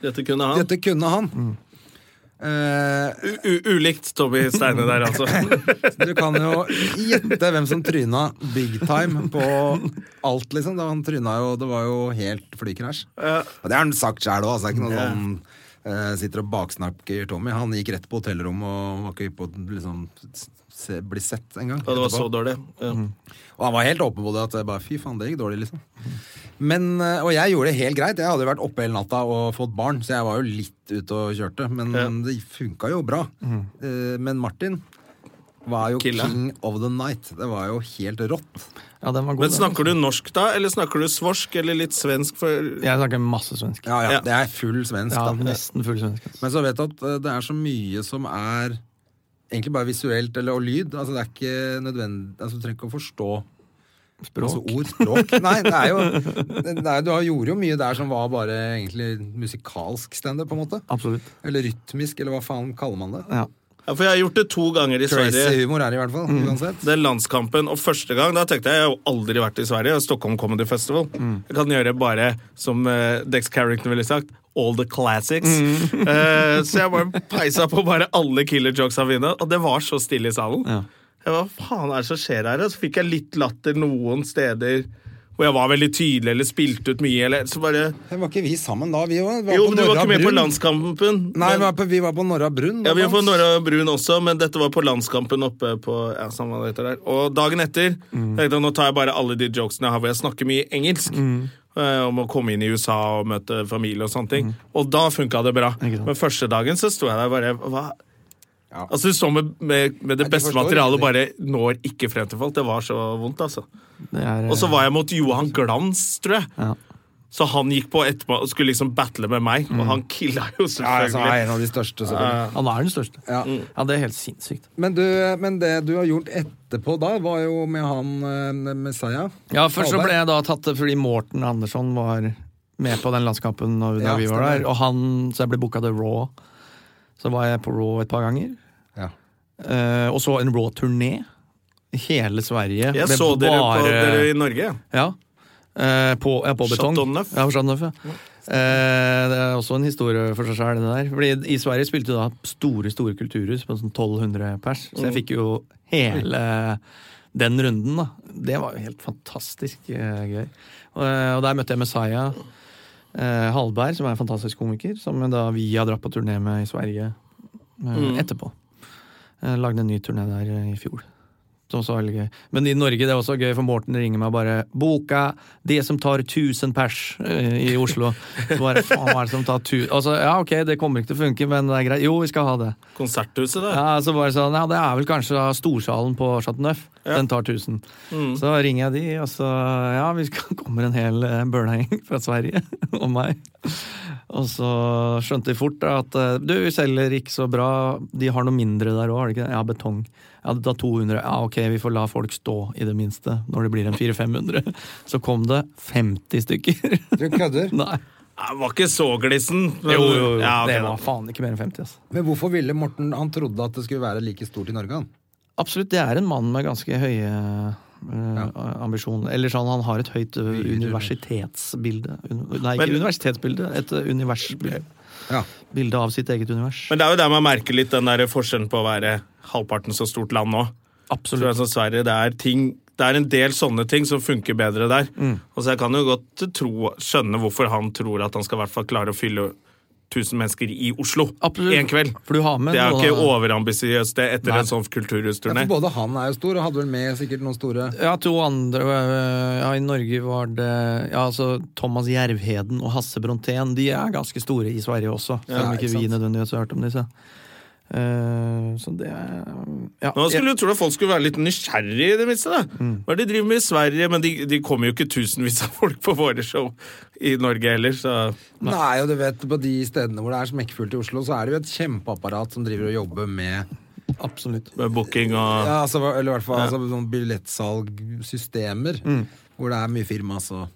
Speaker 1: Dette kunne han.
Speaker 2: Dette kunne han.
Speaker 1: Mm.
Speaker 2: Eh,
Speaker 1: U u- ulikt Tommy Steine der, [LAUGHS] altså.
Speaker 2: du kan jo gjette hvem som tryna big time på alt, liksom. Da han tryna jo Det var jo helt flykrasj.
Speaker 1: Ja.
Speaker 2: Og det har han sagt sjæl òg, altså. Det er ikke noe sånn eh, sitter og baksnakker Tommy. Han gikk rett på hotellrommet og var ikke på liksom se, bli sett engang.
Speaker 1: Og det var så dårlig. Ja.
Speaker 2: Og han var helt åpen på det at jeg bare fy faen, det gikk dårlig, liksom. Men, eh, og jeg gjorde det helt greit. Jeg hadde jo vært oppe hele natta og fått barn, så jeg var jo litt ute og kjørte. Men
Speaker 1: Ja. Mhm.
Speaker 2: det funka jo bra. Eh, Men Martin var jo
Speaker 1: Killa.
Speaker 2: king of the night. Det var jo helt rått.
Speaker 3: ja, den var god.
Speaker 1: Men
Speaker 3: den.
Speaker 1: snakker du norsk da, eller snakker du svorsk eller litt svensk? For
Speaker 3: Jeg snakker masse svensk.
Speaker 2: Ja, ja,
Speaker 1: Ja.
Speaker 2: Det er full svensk,
Speaker 3: Ja,
Speaker 2: da.
Speaker 3: Nesten full svensk. ass.
Speaker 2: Men så vet du at eh, det er så mye som er egentlig bare visuelt eller, og lyd. Altså, det er ikke nødvendig altså, Du trenger ikke å forstå
Speaker 3: Språk.
Speaker 2: Altså ord, språk. Nei, det er jo det er, Du har- gjorde jo mye der som var bare egentlig musikalsk standup, på en måte.
Speaker 3: Absolutt.
Speaker 2: Eller rytmisk, eller hva faen kaller man det.
Speaker 3: Ja.
Speaker 1: Ja, for jeg har gjort det to ganger i
Speaker 2: Crazy
Speaker 1: Sverige.
Speaker 2: humor er det i hvert fall.
Speaker 1: Mm.
Speaker 2: Uansett.
Speaker 1: Den landskampen, og første gang, da tenkte jeg jeg har jo aldri vært i Sverige, og Stockholm Comedy Festival. Jeg kan gjøre bare, som eh, Dex Carrington ville sagt, all the classics. Eh, så jeg bare peisa på bare alle killer jokesa mine, og det var så stille i salen.
Speaker 3: Ja.
Speaker 1: Jeg var, Hva faen er det som skjer her? Og så fikk jeg litt latter noen steder hvor jeg var veldig tydelig eller spilte ut mye. Eller, så bare,
Speaker 2: Det var ikke vi sammen da, vi òg.
Speaker 1: jo, men du var ikke med på landskampen.
Speaker 2: Nei, vi
Speaker 1: men,
Speaker 2: var på, vi var på Norra Brun.
Speaker 1: ja, vi var på
Speaker 2: blant annet.
Speaker 1: Norra Brun også, men dette var på landskampen oppe på ja, samme hva det heter der. Og dagen etter
Speaker 2: Mm.
Speaker 1: tenkte jeg nå tar jeg bare alle de jokesene jeg har hvor jeg snakker mye engelsk.
Speaker 2: Mm.
Speaker 1: eh, Om å komme inn i USA og møte familie og sånne ting.
Speaker 2: Mm.
Speaker 1: Og da funka det bra.
Speaker 3: Ikke sant.
Speaker 1: Men første dagen så sto jeg der bare hva?
Speaker 2: Ja.
Speaker 1: Altså Du står med, med, med det
Speaker 2: de
Speaker 1: beste
Speaker 2: forstår
Speaker 1: materialet
Speaker 2: ingenting.
Speaker 1: og bare når ikke frem til folk. Det var så vondt, altså.
Speaker 3: Det er, eh,
Speaker 1: Og så var jeg mot Johan Glans, tror jeg.
Speaker 3: Ja.
Speaker 1: Så han gikk på etterpå og skulle liksom battle med meg, og han killa jo
Speaker 2: Mm. Ja, altså, han er
Speaker 1: selvfølgelig.
Speaker 2: en av de største, selvfølgelig.
Speaker 3: Han er den største.
Speaker 2: Ja.
Speaker 3: Ja, det er helt sinnssykt.
Speaker 2: Men, du, men det du har gjort etterpå da, var jo med han eh, Messiah.
Speaker 3: Ja, først så
Speaker 2: Hallberg.
Speaker 3: ble jeg da tatt fordi Morten Andersson var med på den landskampen når, da
Speaker 2: Ja,
Speaker 3: vi var der,
Speaker 2: stemmer.
Speaker 3: og han, så jeg ble booka til Raw. Så var jeg på Raw et par ganger.
Speaker 2: Ja.
Speaker 3: Eh, og så en Raw-turné. Hele Sverige.
Speaker 1: Jeg
Speaker 3: ble
Speaker 1: så dere, på,
Speaker 3: bare-
Speaker 1: dere i Norge.
Speaker 3: Ja. Eh, på, ja, på betong.
Speaker 1: Chateau Neuf.
Speaker 3: Ja, på Chateau Neuf, ja. Eh, det er også en historie for seg sjøl, det der. Fordi I Sverige spilte jo da store store kulturhus på sånn 1200 pers, så
Speaker 1: Mm.
Speaker 3: jeg fikk jo hele den runden, da. Det var jo helt fantastisk eh, gøy. Og, eh, og der møtte jeg Messiah eh, Hallberg, som er en fantastisk komiker, som da vi har dratt på turné med i Sverige eh,
Speaker 1: Mm.
Speaker 3: etterpå. Eh, lagde en ny turné der eh, i fjor. Som også var veldig gøy. Men i Norge det er også gøy, for Morten ringer meg bare 'Boka det som tar 1000 pers eh, i Oslo'. Så bare, faen, hva er det som tar tu altså, Ja, ok, det kommer ikke til å funke, men det er greit. Jo, vi skal ha det.
Speaker 1: Konserthuset, da.
Speaker 3: [LAUGHS] Ja, så bare sånn, ja, Det er vel kanskje da storsalen på Chateau Neuf. Den tar 1000.
Speaker 1: Mm.
Speaker 3: Så ringer jeg de, og så Ja, vi skal, [LAUGHS] kommer en hel eh, bølagjeng fra Sverige [LAUGHS] og meg. Og så skjønte de fort da, at eh, du, vi selger ikke så bra. De har noe mindre der òg, har de ikke det? Ja, betong. Ja, det tar 200. Ja, ok, vi får la folk stå, i det minste. Når det blir en 400-500. Så kom det 50 stykker. [LAUGHS]
Speaker 2: Du [LAUGHS] kødder?
Speaker 3: Nei.
Speaker 1: Jeg var ikke så glissen. men- Ja, ok, da.
Speaker 3: det var faen ikke mer enn 50, altså.
Speaker 2: Men hvorfor ville Morten Han trodde at det skulle være like stort i Norge, han.
Speaker 3: Absolutt, det er en mann med ganske høye eh, ambisjoner. Eller sånn, han har et høyt eh, universitetsbilde. Un nei, ikke
Speaker 1: Men-
Speaker 3: universitetsbilde, et eh, universbilde.
Speaker 2: Ja.
Speaker 3: Bilde av sitt eget univers.
Speaker 1: Men det er jo der man merker litt den der forskjellen på å være halvparten så stort land nå. Så det er sånn Sverige, det er ting det er en del sånne ting som funker bedre der.
Speaker 3: Mm.
Speaker 1: Og så Jeg kan jo godt tro, skjønne hvorfor han tror at han skal i hvert fall klare å fylle 1000 mennesker i Oslo
Speaker 3: Absolutt.
Speaker 1: en kveld.
Speaker 3: For du har med
Speaker 1: Det er jo
Speaker 3: noen
Speaker 1: ikke
Speaker 3: av-
Speaker 1: overambisiøst det etter
Speaker 3: Nei.
Speaker 1: en sånn
Speaker 2: Ja,
Speaker 1: kulturhusturné.
Speaker 2: for både han er jo stor, og hadde vel med sikkert noen store
Speaker 3: Ja, to andre øh, Ja, i Norge var det Ja, altså Thomas Jervheden og Hasse Brontén. De er ganske store i Sverige også, selv om
Speaker 2: Ja,
Speaker 3: ikke
Speaker 2: ikke
Speaker 3: vi
Speaker 2: sant.
Speaker 3: nødvendigvis har hørt om disse. Eh, så det er ja,
Speaker 1: Nå skulle du tro at folk skulle være litt nysgjerrige i det minste. da. Hva er det de driver med i Sverige? Men de, de kommer jo ikke tusenvis av folk på våre show i Norge heller, så
Speaker 2: Nei, og du vet, på de stedene hvor det er smekkfullt i Oslo, så er det jo et kjempeapparat som driver og jobber med
Speaker 3: ja, absolutt.
Speaker 1: med booking og
Speaker 2: ja, altså, Eller i hvert fall altså, sånn billettsalgsystemer,
Speaker 3: Mm.
Speaker 2: hvor det er mye firmas og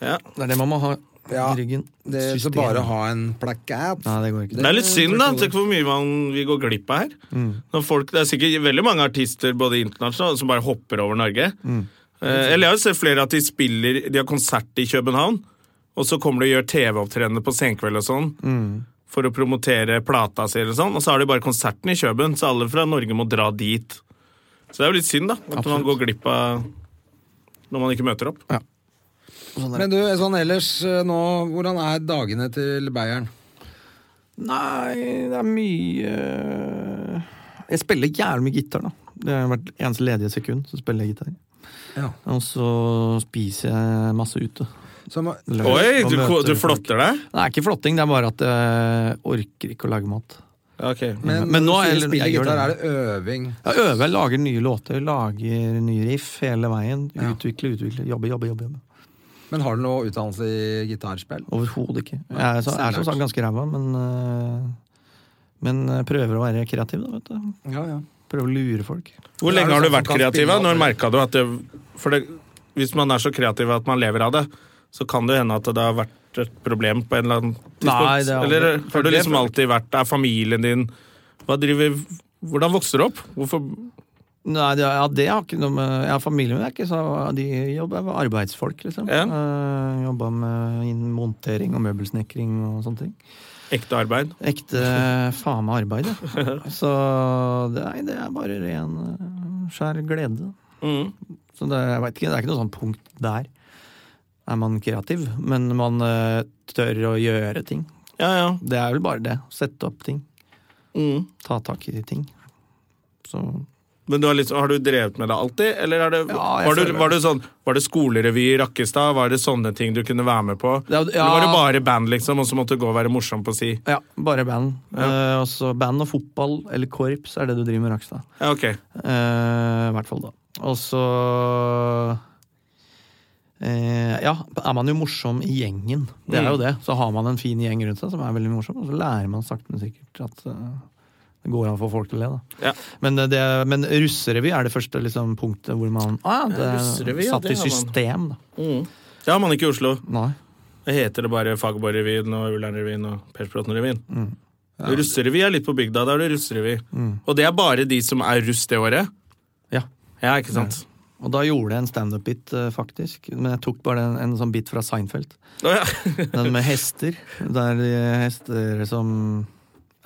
Speaker 1: ja.
Speaker 3: Det er det man må ha
Speaker 2: Ja,
Speaker 3: i ryggen.
Speaker 2: det, Så
Speaker 3: System.
Speaker 2: bare ha en plakat.
Speaker 3: Nei, det Mm. går ikke.
Speaker 1: Det er litt synd, da. Tenk hvor mye man, vi går glipp av her. Når folk, det er sikkert veldig mange artister både internasjonalt som bare hopper over Norge.
Speaker 3: Mm.
Speaker 1: Eh, eller jeg har jo sett flere at de spiller De har konsert i København, og så kommer de og gjør TV-opptredener på senkveld og sånn.
Speaker 3: Mm.
Speaker 1: For å promotere plata si, eller sånn. og så har de bare konserten i København, så alle fra Norge må dra dit. Så det er jo litt synd, da. At man
Speaker 3: Absolutt.
Speaker 1: går glipp av når man ikke møter opp.
Speaker 3: Sånn er
Speaker 2: Men
Speaker 3: det.
Speaker 2: du, sånn ellers eh, nå, hvordan er dagene til Beieren?
Speaker 3: Nei, det er mye Jeg spiller jævlig mye gitar, da. Det har vært eneste ledige sekund, så spiller jeg gitar.
Speaker 2: Ja.
Speaker 3: Og så spiser jeg masse ute.
Speaker 2: Som,
Speaker 1: Oi,
Speaker 3: Og
Speaker 1: du,
Speaker 3: møter
Speaker 1: du
Speaker 3: folk.
Speaker 1: flotter deg?
Speaker 3: Det er ikke flotting, det er bare at jeg orker ikke å lage mat.
Speaker 2: men,
Speaker 3: Men nå
Speaker 2: når du
Speaker 3: er-
Speaker 2: sier spiller
Speaker 3: jeg gjør
Speaker 2: gitar, er
Speaker 3: det.
Speaker 2: det øving?
Speaker 3: Jeg øver, jeg lager nye låter, lager nye riff hele veien. Utvikle, utvikle, jobbe, jobbe, jobbe. jobbe.
Speaker 2: Men har du noe utdannelse i gitarspill?
Speaker 3: Overhodet ikke. Jeg er, så, er som sagt ganske ræva, men, øh, men øh, prøver å være kreativ, da, vet du.
Speaker 2: Ja, ja.
Speaker 3: Prøver å lure folk.
Speaker 1: Hvor
Speaker 2: Er det
Speaker 1: lenge har du
Speaker 2: sånn
Speaker 1: vært
Speaker 2: som kan
Speaker 1: kreativ?
Speaker 2: spille
Speaker 1: da? Når
Speaker 2: av det?
Speaker 1: merka du at det, For det, hvis man er så kreativ at man lever av det, så kan det hende at det har vært et problem på en eller annen tidspunkt?
Speaker 3: Nei, det har aldri-
Speaker 1: Eller har du
Speaker 3: det-
Speaker 1: liksom alltid vært der? Familien din Hva driver Hvordan vokser du opp? Hvorfor
Speaker 3: Nei, det, ja, det har ikke noe med Ja, familien min er ikke så De jobber med arbeidsfolk, liksom.
Speaker 1: Ja.
Speaker 3: Eh, jobba med innen montering og møbelsnekring og sånne ting.
Speaker 1: ekte arbeid?
Speaker 3: Ekte faen
Speaker 1: [LAUGHS]
Speaker 3: meg arbeid, ja. Så det, nei, det er bare ren eh, skjær glede.
Speaker 1: Mm.
Speaker 3: Så det, jeg vet ikke, det er ikke noe sånn punkt der. Er man kreativ? Men man eh, tør å gjøre ting.
Speaker 1: Ja, ja.
Speaker 3: Det er vel bare det. Sette opp ting.
Speaker 1: Mm.
Speaker 3: Ta tak i ting. Så
Speaker 1: Men du har, liksom, har du drevet med det alltid, eller er det,
Speaker 3: Ja, jeg
Speaker 1: var, du,
Speaker 3: føler-
Speaker 1: var, det sånn, var det skolerevy i Rakkestad? Var det sånne ting du kunne være med på?
Speaker 3: Ja,
Speaker 1: Eller var det
Speaker 3: ja.
Speaker 1: bare band, liksom, og så måtte du gå og være morsom på si?
Speaker 3: ja, bare band. Eh, og så band og fotball, eller korps, er det du driver med, Rakstad.
Speaker 1: Ja, ok.
Speaker 3: Eh, I hvert fall da. Og så eh, Ja, er man jo morsom i gjengen. Det
Speaker 1: Mm.
Speaker 3: er jo det. Så har man en fin gjeng rundt seg som er veldig morsom, og så lærer man sakte, men sikkert at eh, det går an å få folk til å le. da.
Speaker 1: Ja.
Speaker 3: Men, eh, det, men russerevy er det første liksom, punktet hvor man ah, ja, det,
Speaker 1: russerevy, ja,
Speaker 3: satt
Speaker 1: det
Speaker 3: i
Speaker 1: har man.
Speaker 3: system. da.
Speaker 1: Det har man ikke i Oslo.
Speaker 3: Nei.
Speaker 1: Det heter det bare Fagerborg-revyen og Ullern-revyen og Persbråten-revyen.
Speaker 3: Mm.
Speaker 1: russerevy er litt på bygda. Da er det russerevy. Og det er bare de som er russ det året.
Speaker 3: Ja.
Speaker 1: Ja, ikke sant?
Speaker 3: Og da gjorde jeg en standup-bit, eh, faktisk. Men jeg tok bare en, en sånn bit fra Seinfeld.
Speaker 1: Å, ja.
Speaker 3: Den med hester. Det er de hester som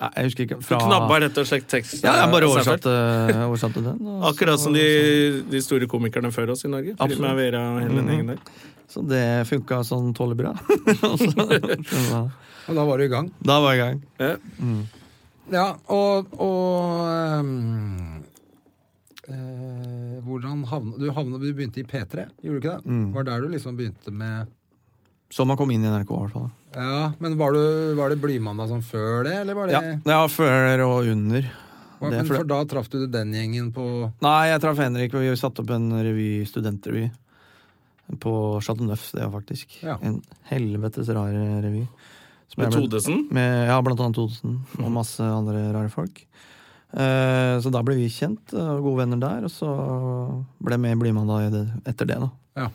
Speaker 3: Nei, Jeg husker ikke.
Speaker 1: Du
Speaker 3: Fra,
Speaker 1: knabba rett og slett tekst.
Speaker 3: Ja, jeg bare
Speaker 1: av Seinfeld.
Speaker 3: oversatte, oversatte den. og
Speaker 1: Akkurat
Speaker 3: så-
Speaker 1: som de, de store komikerne før oss i Norge.
Speaker 3: Absolutt. Mm-hmm.
Speaker 1: Med Vera og hele den gjengen der.
Speaker 3: Så det funka sånn tålelig bra. [LAUGHS] Og så- så da-
Speaker 2: Og da var du i gang.
Speaker 3: da var jeg i gang.
Speaker 1: Ja.
Speaker 2: Ja, og, og ehm, eh, Hvordan havna du, havna du begynte i P3, gjorde du ikke det?
Speaker 3: Mm.
Speaker 2: Var der du liksom begynte med
Speaker 3: Så man kom inn i NRK, i hvert fall.
Speaker 2: Ja, men var, du, var det Blymandag som før det, eller var det
Speaker 3: Ja, ja før og under.
Speaker 2: var,
Speaker 3: det er
Speaker 2: Men
Speaker 3: for-
Speaker 2: for da traff du den gjengen på
Speaker 3: Nei, jeg traff Henrik, og vi satte opp en revy, studentrevy. På Chateau Neuf, det er faktisk.
Speaker 2: Ja.
Speaker 3: En helvetes rar revy. Som
Speaker 1: Med
Speaker 3: jeg ble-
Speaker 1: Todesen.
Speaker 3: Med, ja, blant annet Thodesen og masse andre rare folk. Eh, så da ble vi kjent eh, og gode venner der, og så ble jeg med i Blymandag i det- etter det. da.
Speaker 2: Ja.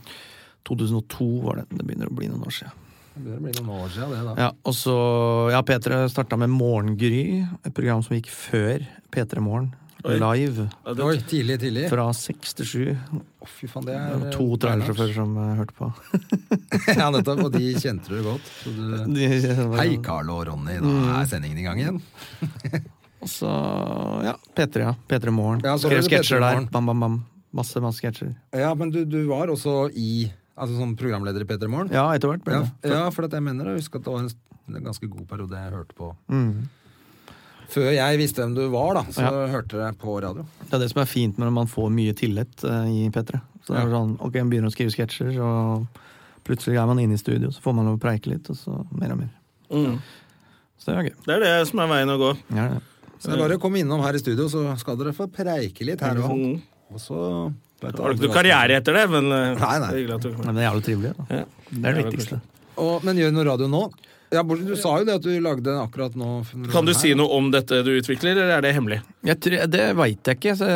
Speaker 3: 2002 var det. Det begynner å bli noen år siden.
Speaker 2: Det begynner å bli noen år siden, det, da.
Speaker 3: Ja, og så, ja, P3 starta med Morgengry, et program som gikk før P3 Morgen.
Speaker 1: Å
Speaker 3: live
Speaker 2: Oi, tidlig, tidlig. Å,
Speaker 3: fra seks til sju.
Speaker 2: fy faen, det
Speaker 3: Det
Speaker 2: er
Speaker 3: var To trailersjåfører som eh, hørte på.
Speaker 2: [LAUGHS] Ja, nettopp. Og de kjente du godt. Så du...
Speaker 3: [LAUGHS]
Speaker 2: Hei, Carl og Ronny. Nå
Speaker 3: Mm.
Speaker 2: er sendingen i gang igjen.
Speaker 3: Og så ja, P3, ja. P3 Morgen.
Speaker 2: Ja, så var
Speaker 3: Skrev
Speaker 2: det P3
Speaker 3: sketsjer der.
Speaker 2: Morgen.
Speaker 3: Bam, bam, bam. Masse, masse sketsjer.
Speaker 2: Ja, men du, du var også i Altså som programleder i P3 Morgen?
Speaker 3: Ja, etter hvert ble
Speaker 2: Ja,
Speaker 3: det.
Speaker 2: ja, for at jeg mener jeg husker at det var en, s- en ganske god periode jeg hørte på.
Speaker 1: Mm.
Speaker 2: Før jeg visste hvem du var, da, så
Speaker 3: Ja.
Speaker 2: hørte jeg på radio.
Speaker 3: Det er det som er fint med når man får mye tillit eh, i P3. Så det er sånn, ok, Man begynner å skrive sketsjer, og plutselig er man inne i studio. Så får man lov å preike litt, og så mer og mer. Så det er gøy.
Speaker 1: Mm. Det er det som er veien å gå.
Speaker 3: Ja, det er det.
Speaker 2: Så det er bare å komme innom her i studio, så skal dere få preike litt her og
Speaker 1: Mm.
Speaker 2: Og så vet
Speaker 1: Har du ikke noe karriere etter det, men eh,
Speaker 2: Nei, nei.
Speaker 1: det er hyggelig at du
Speaker 3: Nei, men det er jævlig trivelig. Da.
Speaker 1: Ja.
Speaker 3: Det er det viktigste.
Speaker 2: Og, men gjør noe radio nå? Ja, Bård, Du sa jo det at du lagde en akkurat nå.
Speaker 1: Kan du si noe om dette du utvikler, eller er det hemmelig?
Speaker 3: Jeg tror, det veit jeg ikke. Så,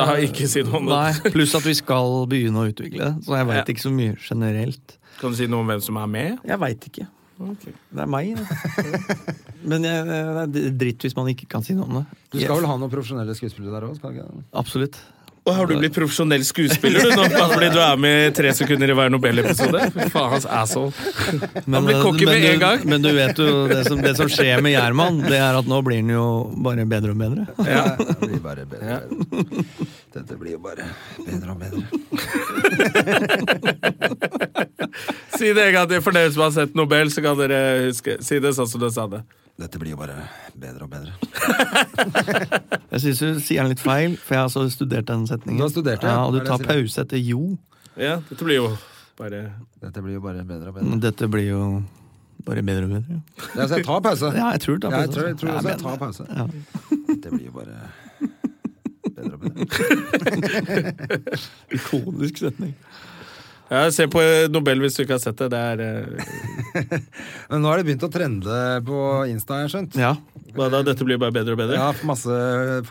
Speaker 1: Da har jeg ikke si noe om det.
Speaker 3: Nei, Pluss at vi skal begynne å utvikle det, så jeg veit
Speaker 1: Ja.
Speaker 3: ikke så mye generelt.
Speaker 1: Kan du si noe om hvem som er med?
Speaker 3: Jeg veit ikke. Det er meg. [LAUGHS] da. Men jeg, det er dritt hvis man ikke kan si noe om det.
Speaker 2: Du skal vel ha noen profesjonelle skuespillere der òg? skal du ikke?
Speaker 3: Absolutt.
Speaker 1: Og har du blitt profesjonell skuespiller [LAUGHS] du nå? Fordi du er med i Tre sekunder i hver Nobel-episode? Fy faen, hans asshole.
Speaker 3: Men, eh,
Speaker 1: blir cocky med
Speaker 3: men,
Speaker 1: en
Speaker 3: du-
Speaker 1: gang.
Speaker 3: [LAUGHS] Men du vet jo, det som, det som skjer med Gjerman, det er at nå blir han jo bare bedre og bedre.
Speaker 1: Ja.
Speaker 2: Det blir bare bedre. Dette blir jo bare bedre og bedre.
Speaker 1: Si det en gang til, for dere som har sett Nobel, så kan dere huske. Si det sånn som du sa det.
Speaker 2: Dette blir jo bare bedre og bedre.
Speaker 3: Jeg syns du sier den litt feil, for jeg har altså studert den setningen.
Speaker 2: Du har studert det, ja.
Speaker 3: ja, Og
Speaker 2: Er
Speaker 3: du
Speaker 2: det
Speaker 3: tar
Speaker 2: jeg sier?
Speaker 3: pause etter jo.
Speaker 1: Ja, dette blir jo bare
Speaker 2: Dette blir jo bare bedre og bedre.
Speaker 3: Men Dette blir jo bare bedre og bedre.
Speaker 2: Ja, så jeg tar pause.
Speaker 3: Ja, jeg tror det.
Speaker 2: Ja, jeg tror, jeg tror også jeg tar
Speaker 3: men-
Speaker 2: pause. [LAUGHS]
Speaker 3: Ja.
Speaker 2: Dette blir jo bare bedre og bedre.
Speaker 3: Ikonisk setning.
Speaker 1: Ja, Se på eh, Nobel hvis du ikke har sett det. Det er eh,
Speaker 2: Men nå har det begynt å trende på Insta, har jeg skjønt.
Speaker 3: Ja.
Speaker 1: Hva da? Dette blir bare bedre og bedre?
Speaker 2: Ja, for masse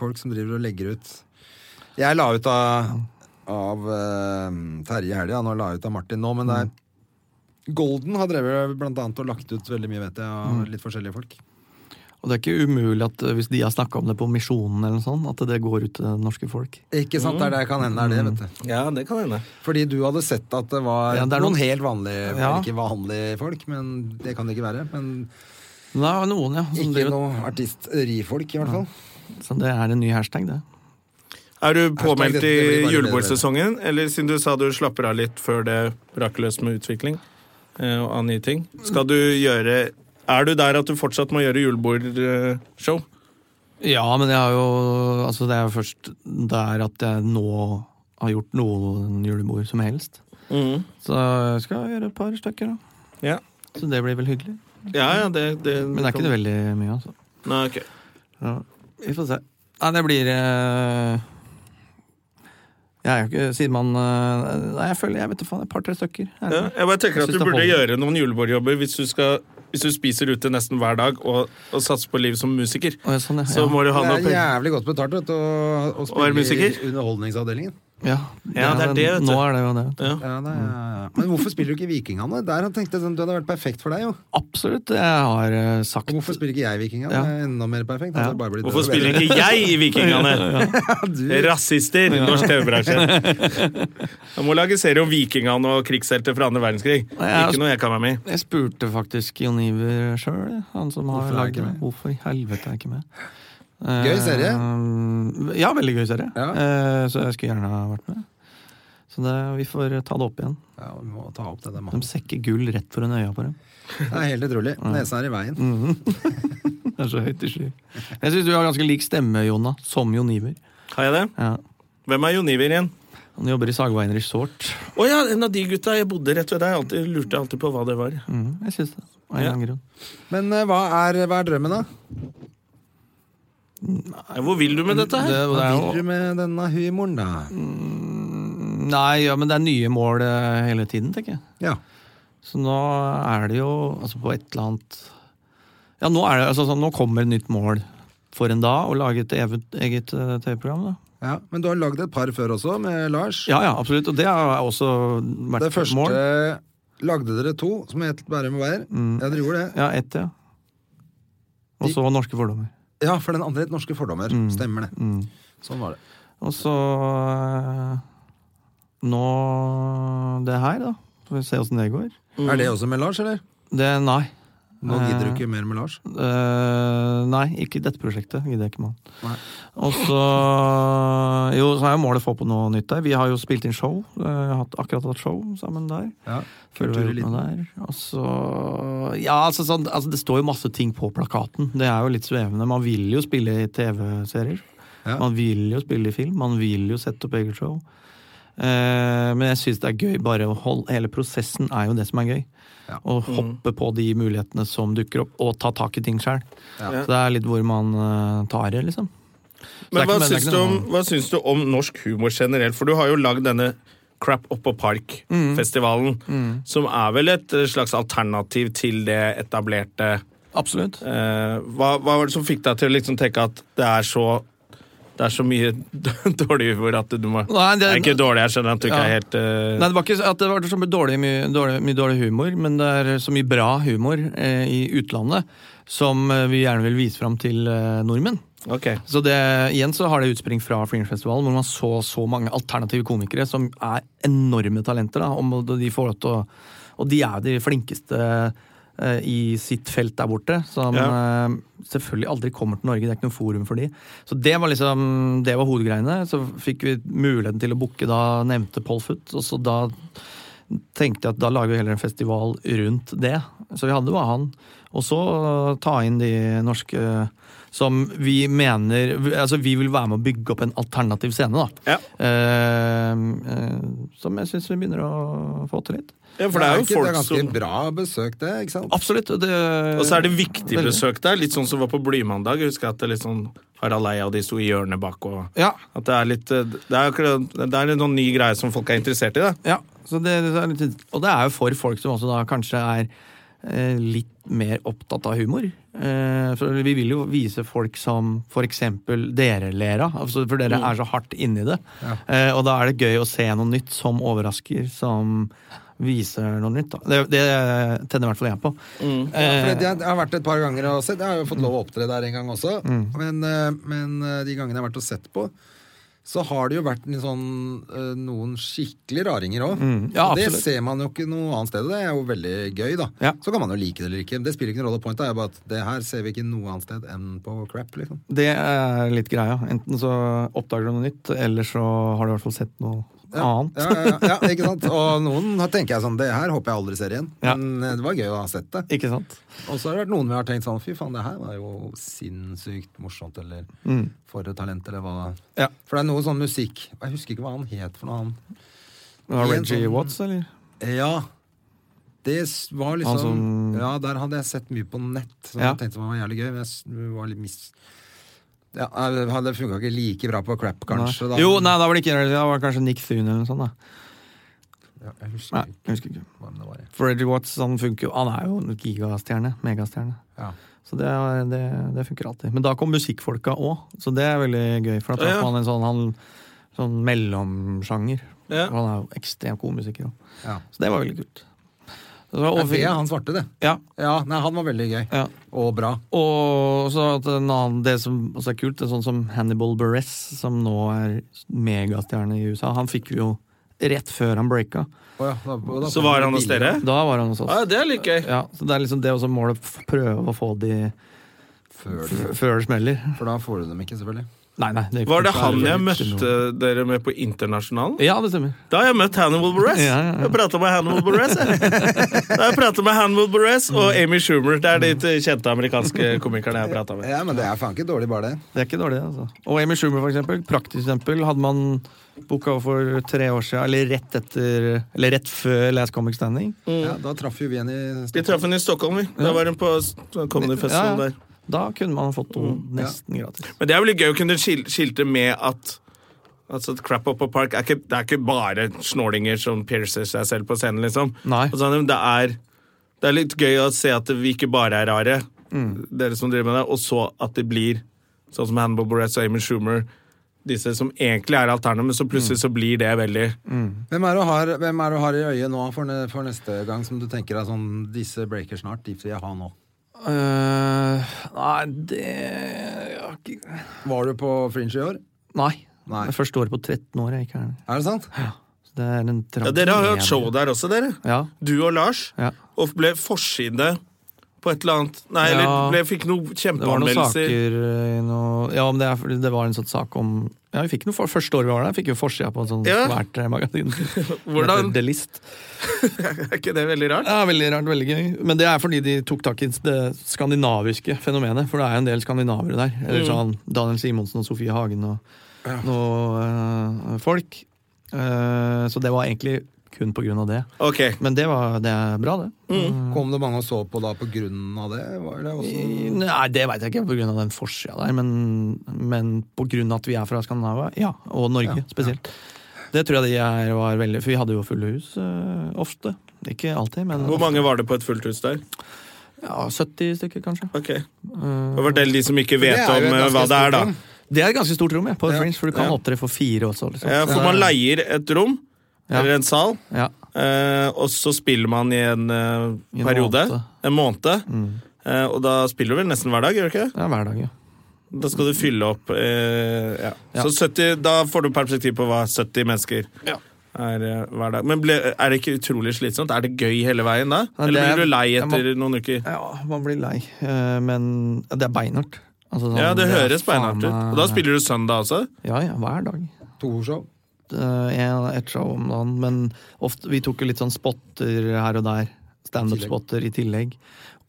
Speaker 2: folk som driver og legger ut. Jeg la ut av, av eh, Terje i helga, nå la jeg ut av Martin nå, men det er Golden har drevet blant annet og lagt ut veldig mye, vet jeg,
Speaker 3: Mm.
Speaker 2: av litt forskjellige folk.
Speaker 3: Og det er ikke umulig at eh, hvis de har snakka om det på Misjonen, eller noe sånt, at det går ut til det norske folk.
Speaker 2: Ikke sant, det er det jeg kan hende er det, vet du.
Speaker 1: Ja, det kan hende.
Speaker 2: Fordi du hadde sett at det var
Speaker 3: Mm. Ja, det er
Speaker 2: noen
Speaker 3: noen-
Speaker 2: helt vanlige,
Speaker 3: Ja.
Speaker 2: ikke vanlige folk, men det kan det ikke være. Men
Speaker 3: Men det er noen, ja. Som
Speaker 2: ikke
Speaker 3: driver,
Speaker 2: noe artisterifolk, i hvert fall.
Speaker 3: så det er en ny hashtag, det.
Speaker 1: Er du påmeldt
Speaker 2: dette blir
Speaker 1: i
Speaker 2: bare
Speaker 1: julebordsesongen? Eller siden du sa du slapper av litt før det brakk løs med utvikling eh, og andre ting. Skal du gjøre Er du der at du fortsatt må gjøre eh, julebordshow?
Speaker 3: Ja, men jeg har jo Altså, det er jo først der at jeg nå har gjort noen julebord som helst.
Speaker 1: Mm-hmm.
Speaker 3: Så jeg skal gjøre et par stykker, da.
Speaker 1: Ja.
Speaker 3: Så det blir vel hyggelig.
Speaker 1: Ja, ja, det, det
Speaker 3: Men det er ikke det veldig mye, altså.
Speaker 1: Nei, ok.
Speaker 3: Ja, vi får se. Nei, det blir eh, Jeg er jo ikke Siden man eh, Nei, jeg føler Jeg vet da faen. Et par-tre stykker. Er
Speaker 1: Ja,
Speaker 3: det-
Speaker 1: jeg bare tenker
Speaker 3: Jeg
Speaker 1: at
Speaker 3: synes
Speaker 1: du
Speaker 3: det
Speaker 1: burde
Speaker 3: holder.
Speaker 1: gjøre noen julebordjobber hvis du, skal, hvis du spiser ute nesten hver dag og, og satser på livet som musiker.
Speaker 3: Å, ja, sånn, ja.
Speaker 1: Så må du ha
Speaker 2: Det
Speaker 1: noe
Speaker 2: er
Speaker 1: penger.
Speaker 2: jævlig godt betalt vet, du, å, å
Speaker 1: være
Speaker 2: spille i
Speaker 1: musiker?
Speaker 2: Underholdningsavdelingen.
Speaker 3: ja.
Speaker 1: Ja, det er det, vet du.
Speaker 3: Nå er det jo det.
Speaker 1: Ja.
Speaker 2: Ja, det er, men hvorfor spiller du ikke Vikingene? Der hadde jeg tenkt at Du hadde vært perfekt for deg, jo.
Speaker 3: Absolutt. Jeg har eh, sagt
Speaker 2: Og Hvorfor spiller ikke jeg Vikingene?
Speaker 3: Ja.
Speaker 2: Det er Enda mer perfekt.
Speaker 3: Ja.
Speaker 2: Det bare blir død
Speaker 1: Hvorfor
Speaker 2: og
Speaker 1: spiller ikke jeg i
Speaker 2: [LAUGHS]
Speaker 1: Vikingene?
Speaker 2: bedre.
Speaker 1: Rasister! Norsk
Speaker 2: [LAUGHS]
Speaker 1: TV-bransje. Jeg må lage serie om vikingene og krigshelter fra andre verdenskrig.
Speaker 3: jeg-
Speaker 1: Ikke noe jeg kan være med i.
Speaker 3: Jeg spurte faktisk Jon Iver sjøl, han som har
Speaker 2: Hvorfor er han
Speaker 3: lagd
Speaker 2: ikke med?
Speaker 3: Hvorfor i helvete er jeg ikke med?
Speaker 2: Gøy serie.
Speaker 3: Eh, ja, veldig gøy serie.
Speaker 2: Ja.
Speaker 3: Eh, så jeg skulle gjerne ha vært med. Så det, vi får ta det opp igjen.
Speaker 2: Du. Ja, vi må ta opp det der,
Speaker 3: De
Speaker 2: mann.
Speaker 3: sekker gull rett foran øya på dem. [LAUGHS]
Speaker 2: Det er helt utrolig.
Speaker 3: Mm.
Speaker 2: Nesa er i veien.
Speaker 3: Det er så høyt i sky. Jeg syns du har ganske lik stemme, Jonna. Som Jon Iver.
Speaker 1: Har jeg det?
Speaker 3: Ja.
Speaker 1: Hvem er Jon Iver igjen?
Speaker 3: Han jobber i Sagveien Resort.
Speaker 1: Å ja, en av de gutta jeg bodde rett ved deg. Alltid, lurte alltid på hva det var.
Speaker 3: Mm, jeg syns det. Av en eller annen grunn.
Speaker 2: Men eh, hva, er, hva er drømmen, da?
Speaker 1: Nei, Hvor vil du med dette
Speaker 3: Det,
Speaker 1: her?
Speaker 3: det
Speaker 2: Hva
Speaker 3: er
Speaker 2: vil
Speaker 3: jo, Mm.
Speaker 2: du med denne humoren, da?
Speaker 3: nei, ja, men det er nye mål eh, hele tiden, tenker jeg.
Speaker 2: Ja.
Speaker 3: Så nå er det jo altså på et eller annet Ja, nå, er det, altså, sånn, nå kommer et nytt mål for en dag, å lage et eget, eget eh, TV-program. da.
Speaker 2: ja. Men du har lagd et par før også, med Lars.
Speaker 3: Ja, ja, absolutt. Og det har også vært
Speaker 2: det
Speaker 3: et
Speaker 2: første
Speaker 3: mål. Mm.
Speaker 2: lagde dere to, som het Bærum og Beyer. Ja, dere gjorde det.
Speaker 3: Ja, ett, ja. Og så Norske fordommer. Mm.
Speaker 2: Ja, for den andre het Norske fordommer. Stemmer det. Sånn var det.
Speaker 3: Og så eh, nå det her, da. Får vi se åssen det går.
Speaker 2: Er
Speaker 1: Mm.
Speaker 2: det også med Lars, eller?
Speaker 3: Det, nei.
Speaker 2: Nå gidder du ikke mer med Lars.
Speaker 3: Eh, nei, ikke dette prosjektet. Gidder jeg ikke med
Speaker 2: Nei.
Speaker 3: han. Og så Jo, så er jo målet å få på noe nytt der. Vi har jo spilt inn show. eh, hatt, akkurat hatt show sammen der.
Speaker 2: Ja.
Speaker 3: Føler vi har gjort noe der. Og så Ja, altså, sånn, altså det står jo masse ting på plakaten. Det er jo litt svevende. Man vil jo spille i TV-serier.
Speaker 2: Ja.
Speaker 3: Man vil jo spille i film. Man vil jo sette opp eget show. Eh, men jeg syns det er gøy bare å holde Hele prosessen er jo det som er gøy.
Speaker 2: Ja.
Speaker 3: Å hoppe på de mulighetene som dukker opp, og ta tak i ting sjøl.
Speaker 1: Ja.
Speaker 3: Så det er litt hvor man eh, tar det, liksom. Så det
Speaker 1: Men
Speaker 3: er
Speaker 1: hva
Speaker 3: ikke- det er
Speaker 1: syns,
Speaker 3: ikke
Speaker 1: du om,
Speaker 3: noe-
Speaker 1: hva syns du om norsk humor generelt? For du har jo lagd denne Crap Oppå
Speaker 3: Mm.
Speaker 1: Park-festivalen, som er vel et eh, slags alternativ til det etablerte
Speaker 3: Absolutt.
Speaker 1: eh, hva, hva var det som fikk deg til å liksom tenke at det er så det er så mye [LAUGHS] dårlig humor at du må
Speaker 3: Nei, det-
Speaker 1: det er ikke dårlig, jeg skjønner at du ikke
Speaker 3: Ja.
Speaker 1: er helt eh,
Speaker 3: Nei, det var ikke så- at det var så mye dårlig, mye, dårlig, mye dårlig humor, men det er så mye bra humor eh, i utlandet som eh, vi gjerne vil vise fram til eh, nordmenn.
Speaker 1: Ok.
Speaker 3: Så det, igjen så har det utspring fra Fringe-festivalen, hvor man så så mange alternative komikere som er enorme talenter. da, om og de får lov til å, Og de er jo de flinkeste eh, i sitt felt der borte, som
Speaker 1: Ja.
Speaker 3: eh, selvfølgelig aldri kommer til Norge. Det er ikke noe forum for de. Så det var liksom, det var hovedgreiene. Så fikk vi muligheten til å booke da nevnte Paul Foot, og så da tenkte jeg at da lager vi heller en festival rundt det. Så vi hadde bare han. Og så øh, ta inn de norske øh, som vi mener vi- Altså, vi vil være med å bygge opp en alternativ scene, da.
Speaker 1: Ja.
Speaker 3: Eh, eh, som jeg syns vi begynner å få til litt.
Speaker 1: ja, for det er jo
Speaker 2: ikke- det er
Speaker 1: folk
Speaker 2: ganske
Speaker 1: som
Speaker 2: bra besøk, det. ikke sant?
Speaker 3: Absolutt. og Det,
Speaker 1: Og så er det viktig
Speaker 3: Veldig.
Speaker 1: besøk der, litt sånn som var på Blymandag. Jeg husker at det litt sånn Harald Eia og de sto i hjørnet bak og
Speaker 3: Ja.
Speaker 1: At det er litt eh, Det er, akkurat, det er en sånn ny greie som folk er interessert i, da.
Speaker 3: Ja, så det, det er litt, og det er jo for folk som også da kanskje er eh, litt mer opptatt av humor. Eh, for vi vil jo vise folk som for eksempel dere ler av, altså for dere
Speaker 2: Mm.
Speaker 3: er så hardt inni det. Eh, og da er det gøy å se noe nytt som overrasker, som viser noe nytt. Da. Det, det tenner i hvert fall jeg på. Eh,
Speaker 2: For Mm. det- Jeg har vært et par ganger og sett. Jeg har jo fått lov å opptre der en gang også.
Speaker 3: Mm.
Speaker 2: Men, eh, men eh, de gangene jeg har vært og sett på, så har det jo vært en sånn, eh, noen skikkelig raringer òg.
Speaker 3: Mm. Ja,
Speaker 2: og det
Speaker 3: absolutt.
Speaker 2: ser man jo ikke noe annet sted. og Det er jo veldig gøy, da.
Speaker 3: Ja.
Speaker 2: Så kan man jo like det eller ikke. Det spiller ikke noen rolle. Pointet er jo bare at det her ser vi ikke noe annet sted enn på crap, liksom.
Speaker 3: Det er litt greia. Enten så oppdager du noe nytt, eller så har du i hvert fall sett noe annet.
Speaker 2: Ja, ja, ja, ja, ikke sant? Og noen har- tenker jeg sånn Det her håper jeg aldri ser igjen.
Speaker 3: Ja.
Speaker 2: Men eh, det var gøy å ha sett det.
Speaker 3: Ikke sant?
Speaker 2: Og så har det vært noen vi har tenkt sånn Fy faen, det her var jo sinnssykt morsomt, eller for et talent, eller hva
Speaker 3: Mm. Ja.
Speaker 2: For det er noe sånn musikk Jeg husker ikke hva han het for noe, han.
Speaker 3: Det var
Speaker 2: I en
Speaker 3: Reggie
Speaker 2: sånn-
Speaker 3: Watts, eller?
Speaker 2: Ja. Det s- var liksom
Speaker 3: Han som-
Speaker 2: Ja, der hadde jeg sett mye på nett, som
Speaker 3: Ja.
Speaker 2: jeg tenkte sånn, var jævlig gøy, men jeg s- var litt mis... Ja, det hadde funka ikke like bra på crap, kanskje. Da.
Speaker 3: Nei. Jo, nei, da var det ikke Det var kanskje Nick Thune eller noe sånt. da
Speaker 2: Ja, jeg husker
Speaker 3: Nei, jeg husker ikke.
Speaker 2: ikke hvem det var. jeg.
Speaker 3: For Reggie Watts han funker jo Han er jo en gigastjerne. Megastjerne.
Speaker 2: Ja.
Speaker 3: Så det, er, det, det funker alltid. Men da kom musikkfolka òg, så det er veldig gøy. For da traff
Speaker 1: Ja, ja.
Speaker 3: man en sånn, han, sånn mellomsjanger.
Speaker 1: Ja.
Speaker 3: Og Han er jo ekstremt god musiker òg.
Speaker 2: Ja.
Speaker 3: Så det var veldig kult. Så, og,
Speaker 2: Det er det han svarte, det.
Speaker 3: ja,
Speaker 2: Ja, nei, han var veldig gøy.
Speaker 3: ja.
Speaker 2: Og bra.
Speaker 3: Og så at en annen, det som også er kult, det er sånn som Hannibal Buress, som nå er megastjerne i USA. Han fikk vi jo rett før han breaka.
Speaker 2: Å ja, da- og da-
Speaker 1: Så var han hos dere?
Speaker 3: Da var han hos oss.
Speaker 1: Ja, det er litt gøy.
Speaker 3: Ja, så det er liksom det også målet. f- Prøve å få de
Speaker 2: Før
Speaker 3: f- før det smeller.
Speaker 2: For da får du dem ikke, selvfølgelig.
Speaker 3: Nei, nei. Det
Speaker 1: Var det
Speaker 3: er
Speaker 1: han jeg
Speaker 3: litt
Speaker 1: møtte dere med på Internasjonalen?
Speaker 3: Ja, det stemmer.
Speaker 1: Da har jeg møtt Hannibal Buress.
Speaker 3: Ja, ja, ja.
Speaker 1: Jeg prata med Hannibal Buress jeg. Da har jeg pratet med Hannibal Buress
Speaker 3: Mm.
Speaker 1: og Amy Schumer. Det er de t- kjente amerikanske komikerne jeg prata med.
Speaker 2: Ja, men det er faen ikke dårlig, bare det.
Speaker 3: Det er ikke dårlig, altså. Og Amy Schumer, for eksempel. Praktisk eksempel. Hadde man booka for tre år siden, eller rett etter Eller rett før Last Comic Standing.
Speaker 2: Ja, da traff jo vi henne i
Speaker 1: Vi traff henne i Stockholm. vi. Da var hun på s- Comedy Festival
Speaker 3: Ja, ja.
Speaker 1: der. Mm,
Speaker 3: Da kunne man fått to nesten gratis.
Speaker 1: Men det er vel gøy å kunne skil- skilte med at Altså at Crap Up og Park er ikke, Det er ikke bare snålinger som piercer seg selv på scenen, liksom.
Speaker 3: Nei.
Speaker 1: Altså, men det, er, det er litt gøy å se at vi ikke bare er rare,
Speaker 3: Mm.
Speaker 1: dere som driver med det, og så at det blir sånn som Hannibal Borrett og Amy Schumer, disse som egentlig er alternative, men så plutselig
Speaker 3: Mm.
Speaker 1: så blir det veldig
Speaker 2: Hvem er det du har, hvem er det du har i øyet nå for, ne- for neste gang, som du tenker er sånn Disse breaker snart, de vil jeg ha nå.
Speaker 3: Eh, nei, det jeg har ikke-
Speaker 2: Var du på Fringe i år?
Speaker 3: Nei.
Speaker 2: Nei.
Speaker 3: Det er første året på 13 år jeg ikke er der.
Speaker 2: Er det sant?
Speaker 3: Så det er en trang
Speaker 1: Ja, dere har jo hatt
Speaker 3: glede.
Speaker 1: show der også, dere.
Speaker 3: Ja.
Speaker 1: Du og Lars.
Speaker 3: ja.
Speaker 1: Og ble forside på et eller annet Nei,
Speaker 3: Ja.
Speaker 1: eller ble, fikk noen
Speaker 3: Det var noen
Speaker 1: kjempeanmeldelser.
Speaker 3: saker eh, noe, Ja, men det, er, fordi det var en sånn sak om Ja, vi fikk noe for, Første året vi var der, fikk vi forsida på en sånn
Speaker 1: Ja.
Speaker 3: svært
Speaker 1: [LAUGHS]
Speaker 3: eh, magasin.
Speaker 1: Hvordan?
Speaker 3: Det list.
Speaker 1: [LAUGHS] Er ikke det veldig rart?
Speaker 3: Ja, veldig rart, veldig gøy. Men det er fordi de tok tak i det skandinaviske fenomenet, for det er jo en del skandinavere der.
Speaker 1: Mm.
Speaker 3: Eller sånn Daniel Simonsen og Sofie Hagen og noe eh, folk. Eh, så det var egentlig kun på grunn av det.
Speaker 1: Ok.
Speaker 3: Men det, var, det er bra, det.
Speaker 2: Kom det mange og så på da på grunn av det? Var det også...
Speaker 3: Nei, det veit jeg ikke pga. den forsida der, men, men pga. at vi er fra Skandinavia, ja, og Norge spesielt. Det tror jeg de er, var veldig For vi hadde jo fulle hus eh, ofte. Ikke alltid, men
Speaker 1: Hvor mange var det på et fullt hus der?
Speaker 3: Ja, 70 stykker, kanskje.
Speaker 1: Ok.
Speaker 3: Eh,
Speaker 1: Og Fortell de som ikke vet
Speaker 2: Det er jo
Speaker 1: om
Speaker 2: et
Speaker 1: eh,
Speaker 2: ganske
Speaker 1: hva det er,
Speaker 2: stort
Speaker 1: da.
Speaker 2: rom.
Speaker 3: Det er et ganske stort rom, ja, på
Speaker 2: Ja.
Speaker 3: Fringe, for du kan
Speaker 1: Ja.
Speaker 3: opptre for fire også. Liksom.
Speaker 1: Ja, for man leier et rom,
Speaker 3: Ja.
Speaker 1: eller en sal,
Speaker 3: Ja.
Speaker 1: eh, og så spiller man i en eh,
Speaker 3: I en
Speaker 1: periode.
Speaker 3: måned. Mm.
Speaker 1: En måned. Eh, Og da spiller du vel nesten hver dag, gjør du ikke det?
Speaker 3: Ja, hver dag, ja.
Speaker 1: Da skal du fylle opp eh, ja.
Speaker 3: Ja.
Speaker 1: Så 70, da får du perspektiv på hva 70 mennesker er eh, hver dag. Men ble, er det ikke utrolig slitsomt? Er det gøy hele veien da?
Speaker 3: Ja, det
Speaker 1: Eller
Speaker 3: er-
Speaker 1: blir du lei
Speaker 3: jeg må-
Speaker 1: etter noen uker?
Speaker 3: Ja, man blir lei, eh, men ja, det er beinhardt. Altså, sånn,
Speaker 1: Ja, det
Speaker 3: er
Speaker 1: høres
Speaker 3: faen
Speaker 1: beinhardt ut.
Speaker 3: meg-
Speaker 1: Og da spiller du søndag også?
Speaker 3: Ja, ja, hver dag.
Speaker 2: To show.
Speaker 3: eh, en, et show om dagen, men ofte, vi tok jo litt sånn spotter her og der. Standup-spotter i tillegg.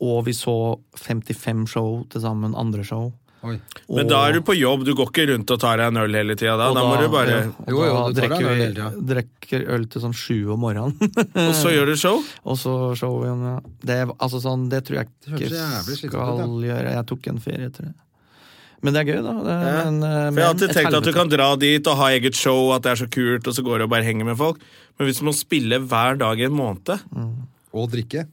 Speaker 3: Og vi så 55 show til sammen, andre show.
Speaker 2: Oi.
Speaker 3: Og,
Speaker 1: Men da er du på jobb, du går ikke rundt og tar deg en øl hele tida da.
Speaker 3: og
Speaker 1: Da må du bare
Speaker 3: ja, og
Speaker 2: Jo, jo,
Speaker 3: da
Speaker 2: du tar deg
Speaker 3: drikker
Speaker 2: en
Speaker 3: vi-
Speaker 2: øl hele tida.
Speaker 3: drikker øl til sånn sju om morgenen. [LAUGHS]
Speaker 1: Og så gjør du show?
Speaker 3: Og så show igjen, ja. Det, altså sånn, det tror jeg
Speaker 2: hørtes
Speaker 3: ikke
Speaker 2: jævlig slitsomt ut,
Speaker 3: skal
Speaker 2: ja.
Speaker 3: gjøre. Jeg tok en ferie etter det. Men det er gøy, da. Det, er- men,
Speaker 1: For
Speaker 3: eh, men
Speaker 1: jeg har alltid
Speaker 3: et
Speaker 1: tenkt at du
Speaker 3: helvete.
Speaker 1: kan dra dit og ha eget show, at det er så kult, og så går du og bare henger med folk. Men hvis du må spille hver dag i en måned [LAUGHS]
Speaker 2: Og drikke.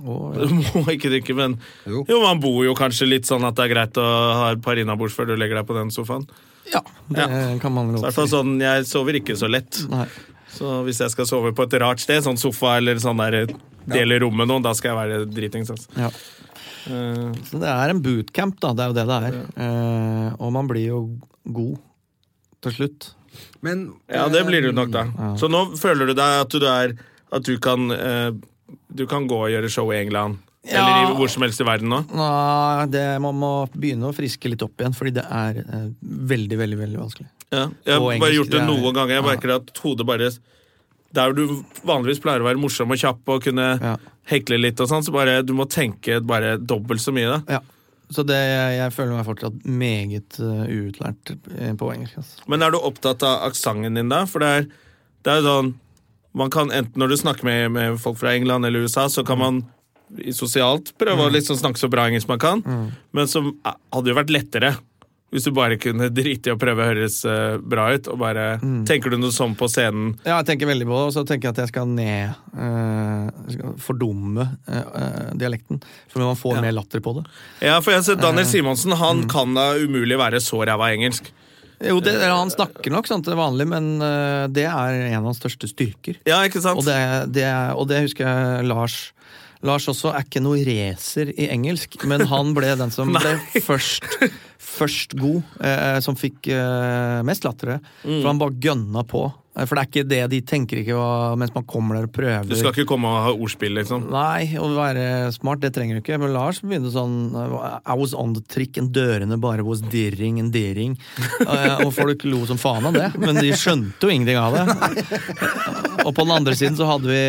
Speaker 3: Å, ja.
Speaker 1: Du må ikke drikke, men
Speaker 2: Jo.
Speaker 1: jo, man bor jo kanskje litt sånn at det er greit å ha et par innabords før du legger deg på den sofaen.
Speaker 3: ja, det kan man
Speaker 1: I
Speaker 3: godt
Speaker 1: hvert fall
Speaker 3: si.
Speaker 1: sånn, Jeg sover ikke så lett.
Speaker 3: Nei.
Speaker 1: Så hvis jeg skal sove på et rart sted, sånn sofa eller sånn der del i rommet med noen, da skal jeg være dritings. Altså.
Speaker 3: Ja.
Speaker 1: Eh,
Speaker 3: Så det er en bootcamp, da. Det er jo det det er. Eh, og man blir jo god til slutt.
Speaker 2: Men
Speaker 1: ja, det blir du nok, da.
Speaker 3: Mm,
Speaker 1: Så nå føler du deg at du er At du kan eh, Du kan gå og gjøre show i England. Eller
Speaker 3: Ja.
Speaker 1: i hvor som helst i verden nå.
Speaker 3: Nei, det, man må begynne å friske litt opp igjen, fordi det er eh, veldig, veldig veldig vanskelig.
Speaker 1: Ja, jeg har
Speaker 3: Og
Speaker 1: bare
Speaker 3: engelsk,
Speaker 1: gjort det
Speaker 3: det er-
Speaker 1: noen ganger. Jeg
Speaker 3: ja.
Speaker 1: merker at hodet bare Der du vanligvis pleier å være morsom og kjapp og kunne
Speaker 3: Ja.
Speaker 1: hekle litt og sånn, så bare du må tenke bare dobbelt så mye, da.
Speaker 3: Ja. Så det, jeg, jeg føler meg fortsatt meget eh, uutlært eh, på engelsk. Altså.
Speaker 1: Men er du opptatt av aksenten din, da? For det er, det er jo sånn man kan enten Når du snakker med, med folk fra England eller USA, så kan man i sosialt prøve
Speaker 3: Mm.
Speaker 1: å liksom snakke så bra engelsk man kan, men som eh, hadde jo vært lettere. Hvis du bare kunne drite i å prøve å høres eh, bra ut, og bare
Speaker 3: Mm.
Speaker 1: Tenker du noe sånn på scenen?
Speaker 3: Ja, jeg tenker veldig på det, og så tenker jeg at jeg skal ned eh, jeg skal Fordumme eh, eh, dialekten, for man får mer latter på det.
Speaker 1: Ja, for jeg har sett Daniel Simonsen. Han
Speaker 3: Mm.
Speaker 1: kan da umulig være så ræva engelsk.
Speaker 3: Jo, det, eller Eh, han snakker nok sant, det er vanlig, men eh, det er en av hans største styrker.
Speaker 1: Ja, ikke sant?
Speaker 3: Og det, det, og det husker jeg Lars Lars også er ikke noe racer i engelsk, men han ble den
Speaker 1: [LAUGHS]
Speaker 3: som ble først, først god. Eh, som fikk eh, mest latter.
Speaker 1: Mm.
Speaker 3: For han bare gønna på. Eh, For det er ikke det de tenker ikke hva, mens man kommer der og prøver.
Speaker 1: Du skal ikke komme og ha ordspill, liksom.
Speaker 3: Nei, å være smart, det trenger du ikke. Men Lars begynte sånn I was on the trick, and dørene bare was dirring and
Speaker 1: [LAUGHS]
Speaker 3: dirring. Eh, Og folk lo som faen av det, men de skjønte jo ingenting av det. Og på den andre siden så hadde vi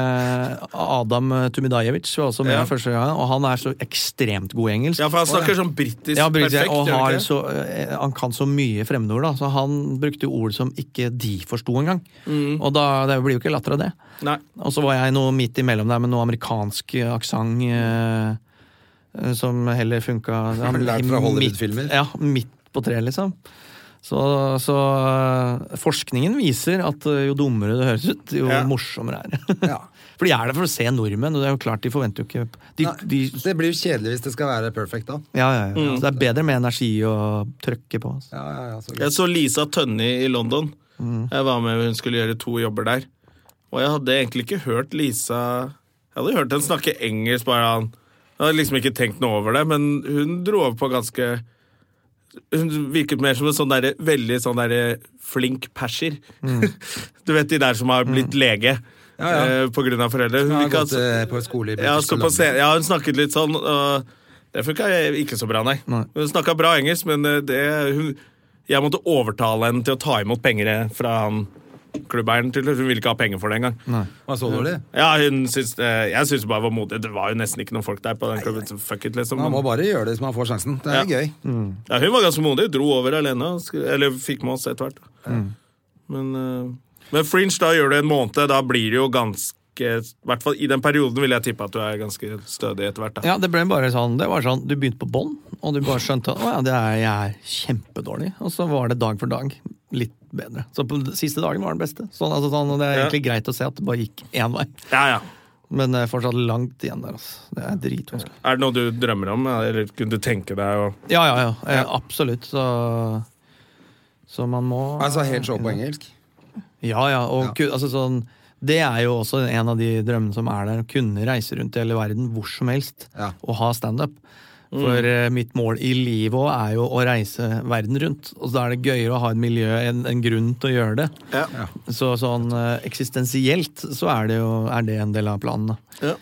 Speaker 3: eh, Adam Tumidajevic, var også med
Speaker 1: Ja.
Speaker 3: første gang, og han er så ekstremt god i engelsk.
Speaker 1: Ja, for han snakker sånn britisk
Speaker 3: Ja, Brygge,
Speaker 1: perfekt.
Speaker 3: og
Speaker 1: gjør han
Speaker 3: har
Speaker 1: ikke?
Speaker 3: så, eh, han kan så mye fremmedord, da. Så han brukte jo ord som ikke de forsto engang.
Speaker 1: Mm.
Speaker 3: Og da, det blir jo ikke latter av det.
Speaker 1: Nei.
Speaker 3: Og så var jeg noe midt imellom der med noe amerikansk aksent eh, eh, som
Speaker 2: [LAUGHS]
Speaker 3: heller funka ja,
Speaker 2: Lært fra
Speaker 3: midt-
Speaker 2: Hollywood-filmer.
Speaker 3: Ja, midt på treet, liksom. Så, så eh, forskningen viser at eh, jo dummere det høres ut, jo
Speaker 1: Ja.
Speaker 3: morsommere er det.
Speaker 2: Ja.
Speaker 3: [LAUGHS] For de er der for å se nordmenn, og det er jo klart de forventer jo ikke de,
Speaker 2: eh, Nei,
Speaker 3: de,
Speaker 2: Det blir jo kjedelig hvis det skal være perfect, da.
Speaker 3: ja, ja, ja.
Speaker 2: Mm.
Speaker 3: Så det er bedre med energi å trøkke på. Altså.
Speaker 2: Ja, ja, ja, så
Speaker 1: Jeg så Lisa Tønne i London. Jeg var med, Hun skulle gjøre to jobber der. Og jeg hadde egentlig ikke hørt Lisa Jeg hadde hørt henne snakke engelsk. bare han. Jeg hadde liksom ikke tenkt noe over det, men hun dro over på ganske Hun virket mer som en sånn derre veldig sånn derre flink perser. [LAUGHS] du vet de der som har blitt lege
Speaker 2: Mm. Ja, ja.
Speaker 1: eh, på grunn av foreldre.
Speaker 2: Hun
Speaker 1: Hun altså-
Speaker 2: har
Speaker 1: virka
Speaker 2: gått eh, på skole i
Speaker 1: ja,
Speaker 2: British
Speaker 1: så på
Speaker 2: Columbia.
Speaker 1: scenen- ja, hun snakket litt sånn og Det funka ikke så bra, nei.
Speaker 3: Nei.
Speaker 1: Hun snakka bra engelsk, men eh, det, hun, jeg måtte overtale henne til å ta imot penger eh, fra han klubbeieren. til Hun ville ikke ha penger for det engang.
Speaker 2: Var
Speaker 1: Mm.
Speaker 2: så dårlig?
Speaker 1: Ja, hun syns, eh, jeg syns det bare var modig. Det var jo nesten ikke noen folk der på den klubben. så Fuck it, liksom.
Speaker 2: Man må bare gjøre det hvis man får sjansen. Det er
Speaker 1: Ja.
Speaker 2: gøy.
Speaker 1: Ja, hun var ganske modig. Dro over alene. og skri- Eller fikk med oss etter hvert. da.
Speaker 3: Mm.
Speaker 1: Men, eh, men Fringe, da gjør du en måned. Da blir det jo ganske I hvert fall i den perioden vil jeg tippe at du er ganske stødig etter hvert. da.
Speaker 3: Ja, det ble bare sånn, det var sånn, du begynte på bånn, og du bare skjønte at å ja, det er, jeg er kjempedårlig. Og så var det dag for dag litt bedre. Så på den siste dagen var den beste. Sånn, altså, sånn, og det er
Speaker 1: Ja.
Speaker 3: egentlig greit å se at det bare gikk én vei.
Speaker 1: Ja, ja.
Speaker 3: Men det er fortsatt langt igjen der, altså. Det er dritvanskelig.
Speaker 1: Er det noe du drømmer om, eller kunne du tenke deg å
Speaker 3: Ja, ja, ja. Eh, absolutt. Så, så man må
Speaker 2: Altså helt show på
Speaker 1: Mm.
Speaker 2: engelsk.
Speaker 3: Ja, ja. Og ku- Altså, sånn, det er jo også en av de drømmene som er der. Å kunne reise rundt i hele verden hvor som helst
Speaker 2: Ja.
Speaker 3: og ha standup. For eh, mitt mål i livet òg er jo å reise verden rundt. Og da er det gøyere å ha et miljø, en, en grunn til å gjøre det.
Speaker 1: Ja.
Speaker 3: Så sånn eh, eksistensielt så er det jo er det en del av planen. da.
Speaker 1: Ja.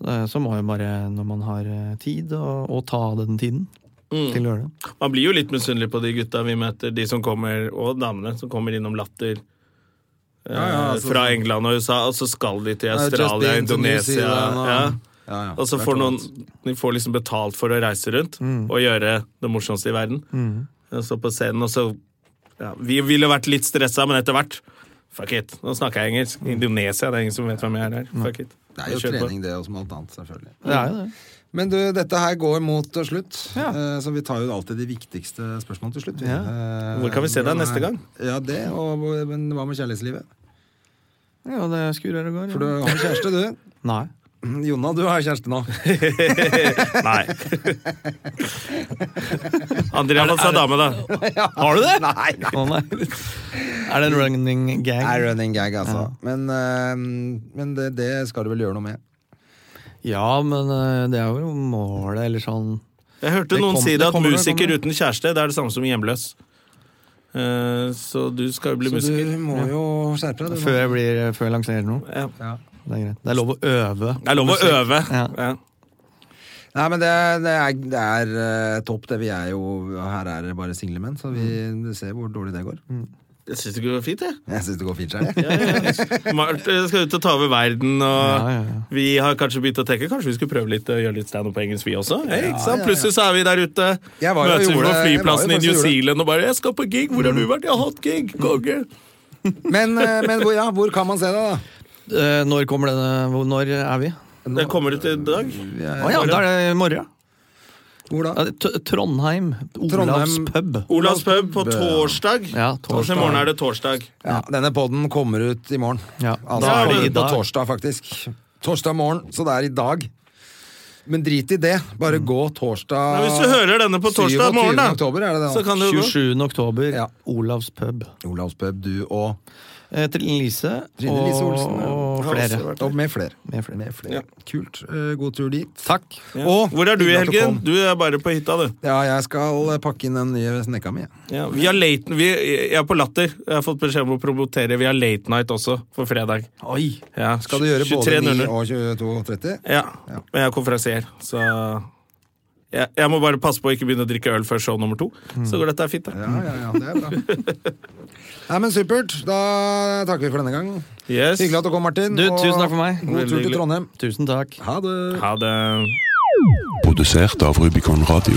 Speaker 3: Så, eh, så må jo bare, når man har eh, tid, og, og ta den tiden til å gjøre det.
Speaker 1: Man blir jo litt misunnelig på de gutta vi møter, de som kommer, og damene som kommer innom Latter. eh,
Speaker 2: ja, altså-
Speaker 1: fra England og USA, og så skal de til
Speaker 2: just
Speaker 1: Australia,
Speaker 2: been to New
Speaker 1: Indonesia
Speaker 2: Zealand, og-
Speaker 1: ja.
Speaker 2: Ja, ja.
Speaker 1: Og så
Speaker 2: Det er Mm.
Speaker 1: får noen
Speaker 2: klart.
Speaker 1: De får liksom betalt for å reise rundt og gjøre det morsomste i verden.
Speaker 2: Mm.
Speaker 1: Og så på scenen, og så ja, Vi ville vært litt stressa, men etter hvert Fuck it. Nå snakker jeg engelsk. Indonesia, det er ingen som vet hvem jeg er der. Fuck it.
Speaker 2: Mm. Det er jo
Speaker 1: Kjør på.
Speaker 2: trening, det, og som alt annet, selvfølgelig.
Speaker 3: Det er jo det.
Speaker 2: Men du, dette her går mot eh, slutt,
Speaker 3: Ja.
Speaker 2: Eh, så vi tar jo alltid de viktigste spørsmålene til slutt. vi.
Speaker 3: Ja.
Speaker 2: Eh,
Speaker 1: Hvor kan vi se deg
Speaker 2: hvordan er-
Speaker 1: neste gang?
Speaker 2: Ja, det, og hvor- Men hva med kjærlighetslivet?
Speaker 3: Ja, det skurrer og går.
Speaker 2: For
Speaker 3: Ja.
Speaker 2: du har kjæreste,
Speaker 1: [LAUGHS]
Speaker 2: du.
Speaker 3: Nei.
Speaker 2: Jonna, du har kjæreste nå.
Speaker 1: Nei. Andrea har fått seg dame, da. Har du det?
Speaker 2: Nei, nei.
Speaker 3: Å, nei. er det en running gag?
Speaker 2: Det er running gag, altså. Men, eh, men det, det skal du vel gjøre noe med.
Speaker 3: Ja, men eh, det er jo målet, eller sånn
Speaker 1: Jeg hørte
Speaker 3: Det
Speaker 1: noen
Speaker 3: kom-
Speaker 1: si
Speaker 3: det
Speaker 1: det at
Speaker 3: kommer, det
Speaker 1: musiker
Speaker 3: kommer.
Speaker 1: uten kjæreste det er det samme som hjemløs. Eh, så du skal jo bli
Speaker 2: Så
Speaker 1: musiker.
Speaker 2: du må jo skjerpe deg. du, nå.
Speaker 3: Før jeg, blir, eh, før jeg lanserer noe.
Speaker 1: Ja.
Speaker 3: Det er greit. Det er lov å øve.
Speaker 1: Det er lov å øve. Ja.
Speaker 3: Ja.
Speaker 2: Nei, men det, det er, det er eh, topp, det. Vi er jo Her er det bare single menn, så
Speaker 1: Mm.
Speaker 2: vi ser hvor dårlig det går.
Speaker 1: Jeg syns det går fint, jeg.
Speaker 2: Jeg syns det går fint, Skjær.
Speaker 1: Mm. [LAUGHS] Ja, ja. Mart eh, skal ut og ta over verden, og
Speaker 3: Ja, ja, ja.
Speaker 1: vi har kanskje begynt å tenke Kanskje vi skulle prøve litt å gjøre litt standup på engelsk, vi også? Hey, ikke sant?
Speaker 2: ja, ja.
Speaker 1: Plutselig så er vi der ute.
Speaker 2: Jeg var jo
Speaker 1: Møtes vi
Speaker 2: gjorde-
Speaker 1: på
Speaker 2: jeg var jo
Speaker 1: flyplassen i
Speaker 2: faktisk
Speaker 1: New
Speaker 2: gjorde det.
Speaker 1: Zealand og bare 'Jeg skal på gig! Hvor har du vært? Jeg har hatt gig! Konge!'
Speaker 2: Men, eh, men hvor, ja, hvor kan man se deg, da?
Speaker 3: Eh, når kommer denne hvor- Når er vi?
Speaker 1: Det kommer ut i dag.
Speaker 3: Å ja, da er det i morgen.
Speaker 2: Hvor
Speaker 3: Ja,
Speaker 2: da?
Speaker 3: det- T Trondheim. Olavs
Speaker 2: Trondheim.
Speaker 3: pub.
Speaker 1: Olavs pub på
Speaker 2: Bø.
Speaker 1: torsdag.
Speaker 3: Ja,
Speaker 1: Altså,
Speaker 3: torsdag.
Speaker 1: I morgen er det torsdag.
Speaker 2: Ja, denne poden kommer ut i morgen.
Speaker 3: Ja,
Speaker 2: Altså,
Speaker 1: da er det
Speaker 2: kommer
Speaker 1: i
Speaker 2: ut på
Speaker 3: dag.
Speaker 2: torsdag, faktisk. Torsdag morgen, så det er i dag. Men drit i det. Bare gå torsdag
Speaker 1: Mm. Men hvis du hører denne på torsdag
Speaker 2: 27.
Speaker 1: morgen, da,
Speaker 2: Ah, oktober, er det det,
Speaker 1: så kan du gå.
Speaker 3: 27. oktober.
Speaker 2: Ja.
Speaker 3: Olavs pub.
Speaker 2: Olavs pub, du og
Speaker 3: Eh, Trine Lise
Speaker 2: Trine
Speaker 3: og,
Speaker 2: Lise Olsen, ja.
Speaker 3: og
Speaker 1: Har også
Speaker 3: flere.
Speaker 1: vært
Speaker 2: Og med flere.
Speaker 3: Med flere.
Speaker 2: Med flere. Kult. Eh, God tur dit.
Speaker 3: Takk.
Speaker 1: Ja.
Speaker 2: Og-
Speaker 1: Hvor er du i
Speaker 2: Hyggelig at du
Speaker 1: helgen?
Speaker 2: kom.
Speaker 1: Du er bare på hytta, du.
Speaker 2: Ja, jeg skal eh, pakke inn den nye snekka mi. jeg.
Speaker 1: Ja, vi har late, vi, jeg er på Latter. Jeg har fått beskjed om å promotere. Vi har Late Night også, for fredag.
Speaker 3: Oi!
Speaker 1: Ja,
Speaker 2: Skal du gjøre både 9
Speaker 1: 23.00.
Speaker 2: og 22.30?
Speaker 1: Ja, men jeg er konferansier, så jeg, jeg må bare passe på å ikke begynne å drikke øl før show nummer to. Så går dette fint, da.
Speaker 2: Mm. Ja, ja, ja, det er
Speaker 1: [LAUGHS]
Speaker 2: bra. Nei, men Supert. Da takker vi for denne gang.
Speaker 1: Yes.
Speaker 2: Hyggelig at du kom, Martin.
Speaker 3: Du,
Speaker 2: og
Speaker 3: tusen takk for meg.
Speaker 2: God tur
Speaker 1: Veldig
Speaker 2: til Trondheim.
Speaker 3: Tusen takk.
Speaker 2: Ha det.
Speaker 1: Ha det.
Speaker 4: Produsert av Rubicon Radio.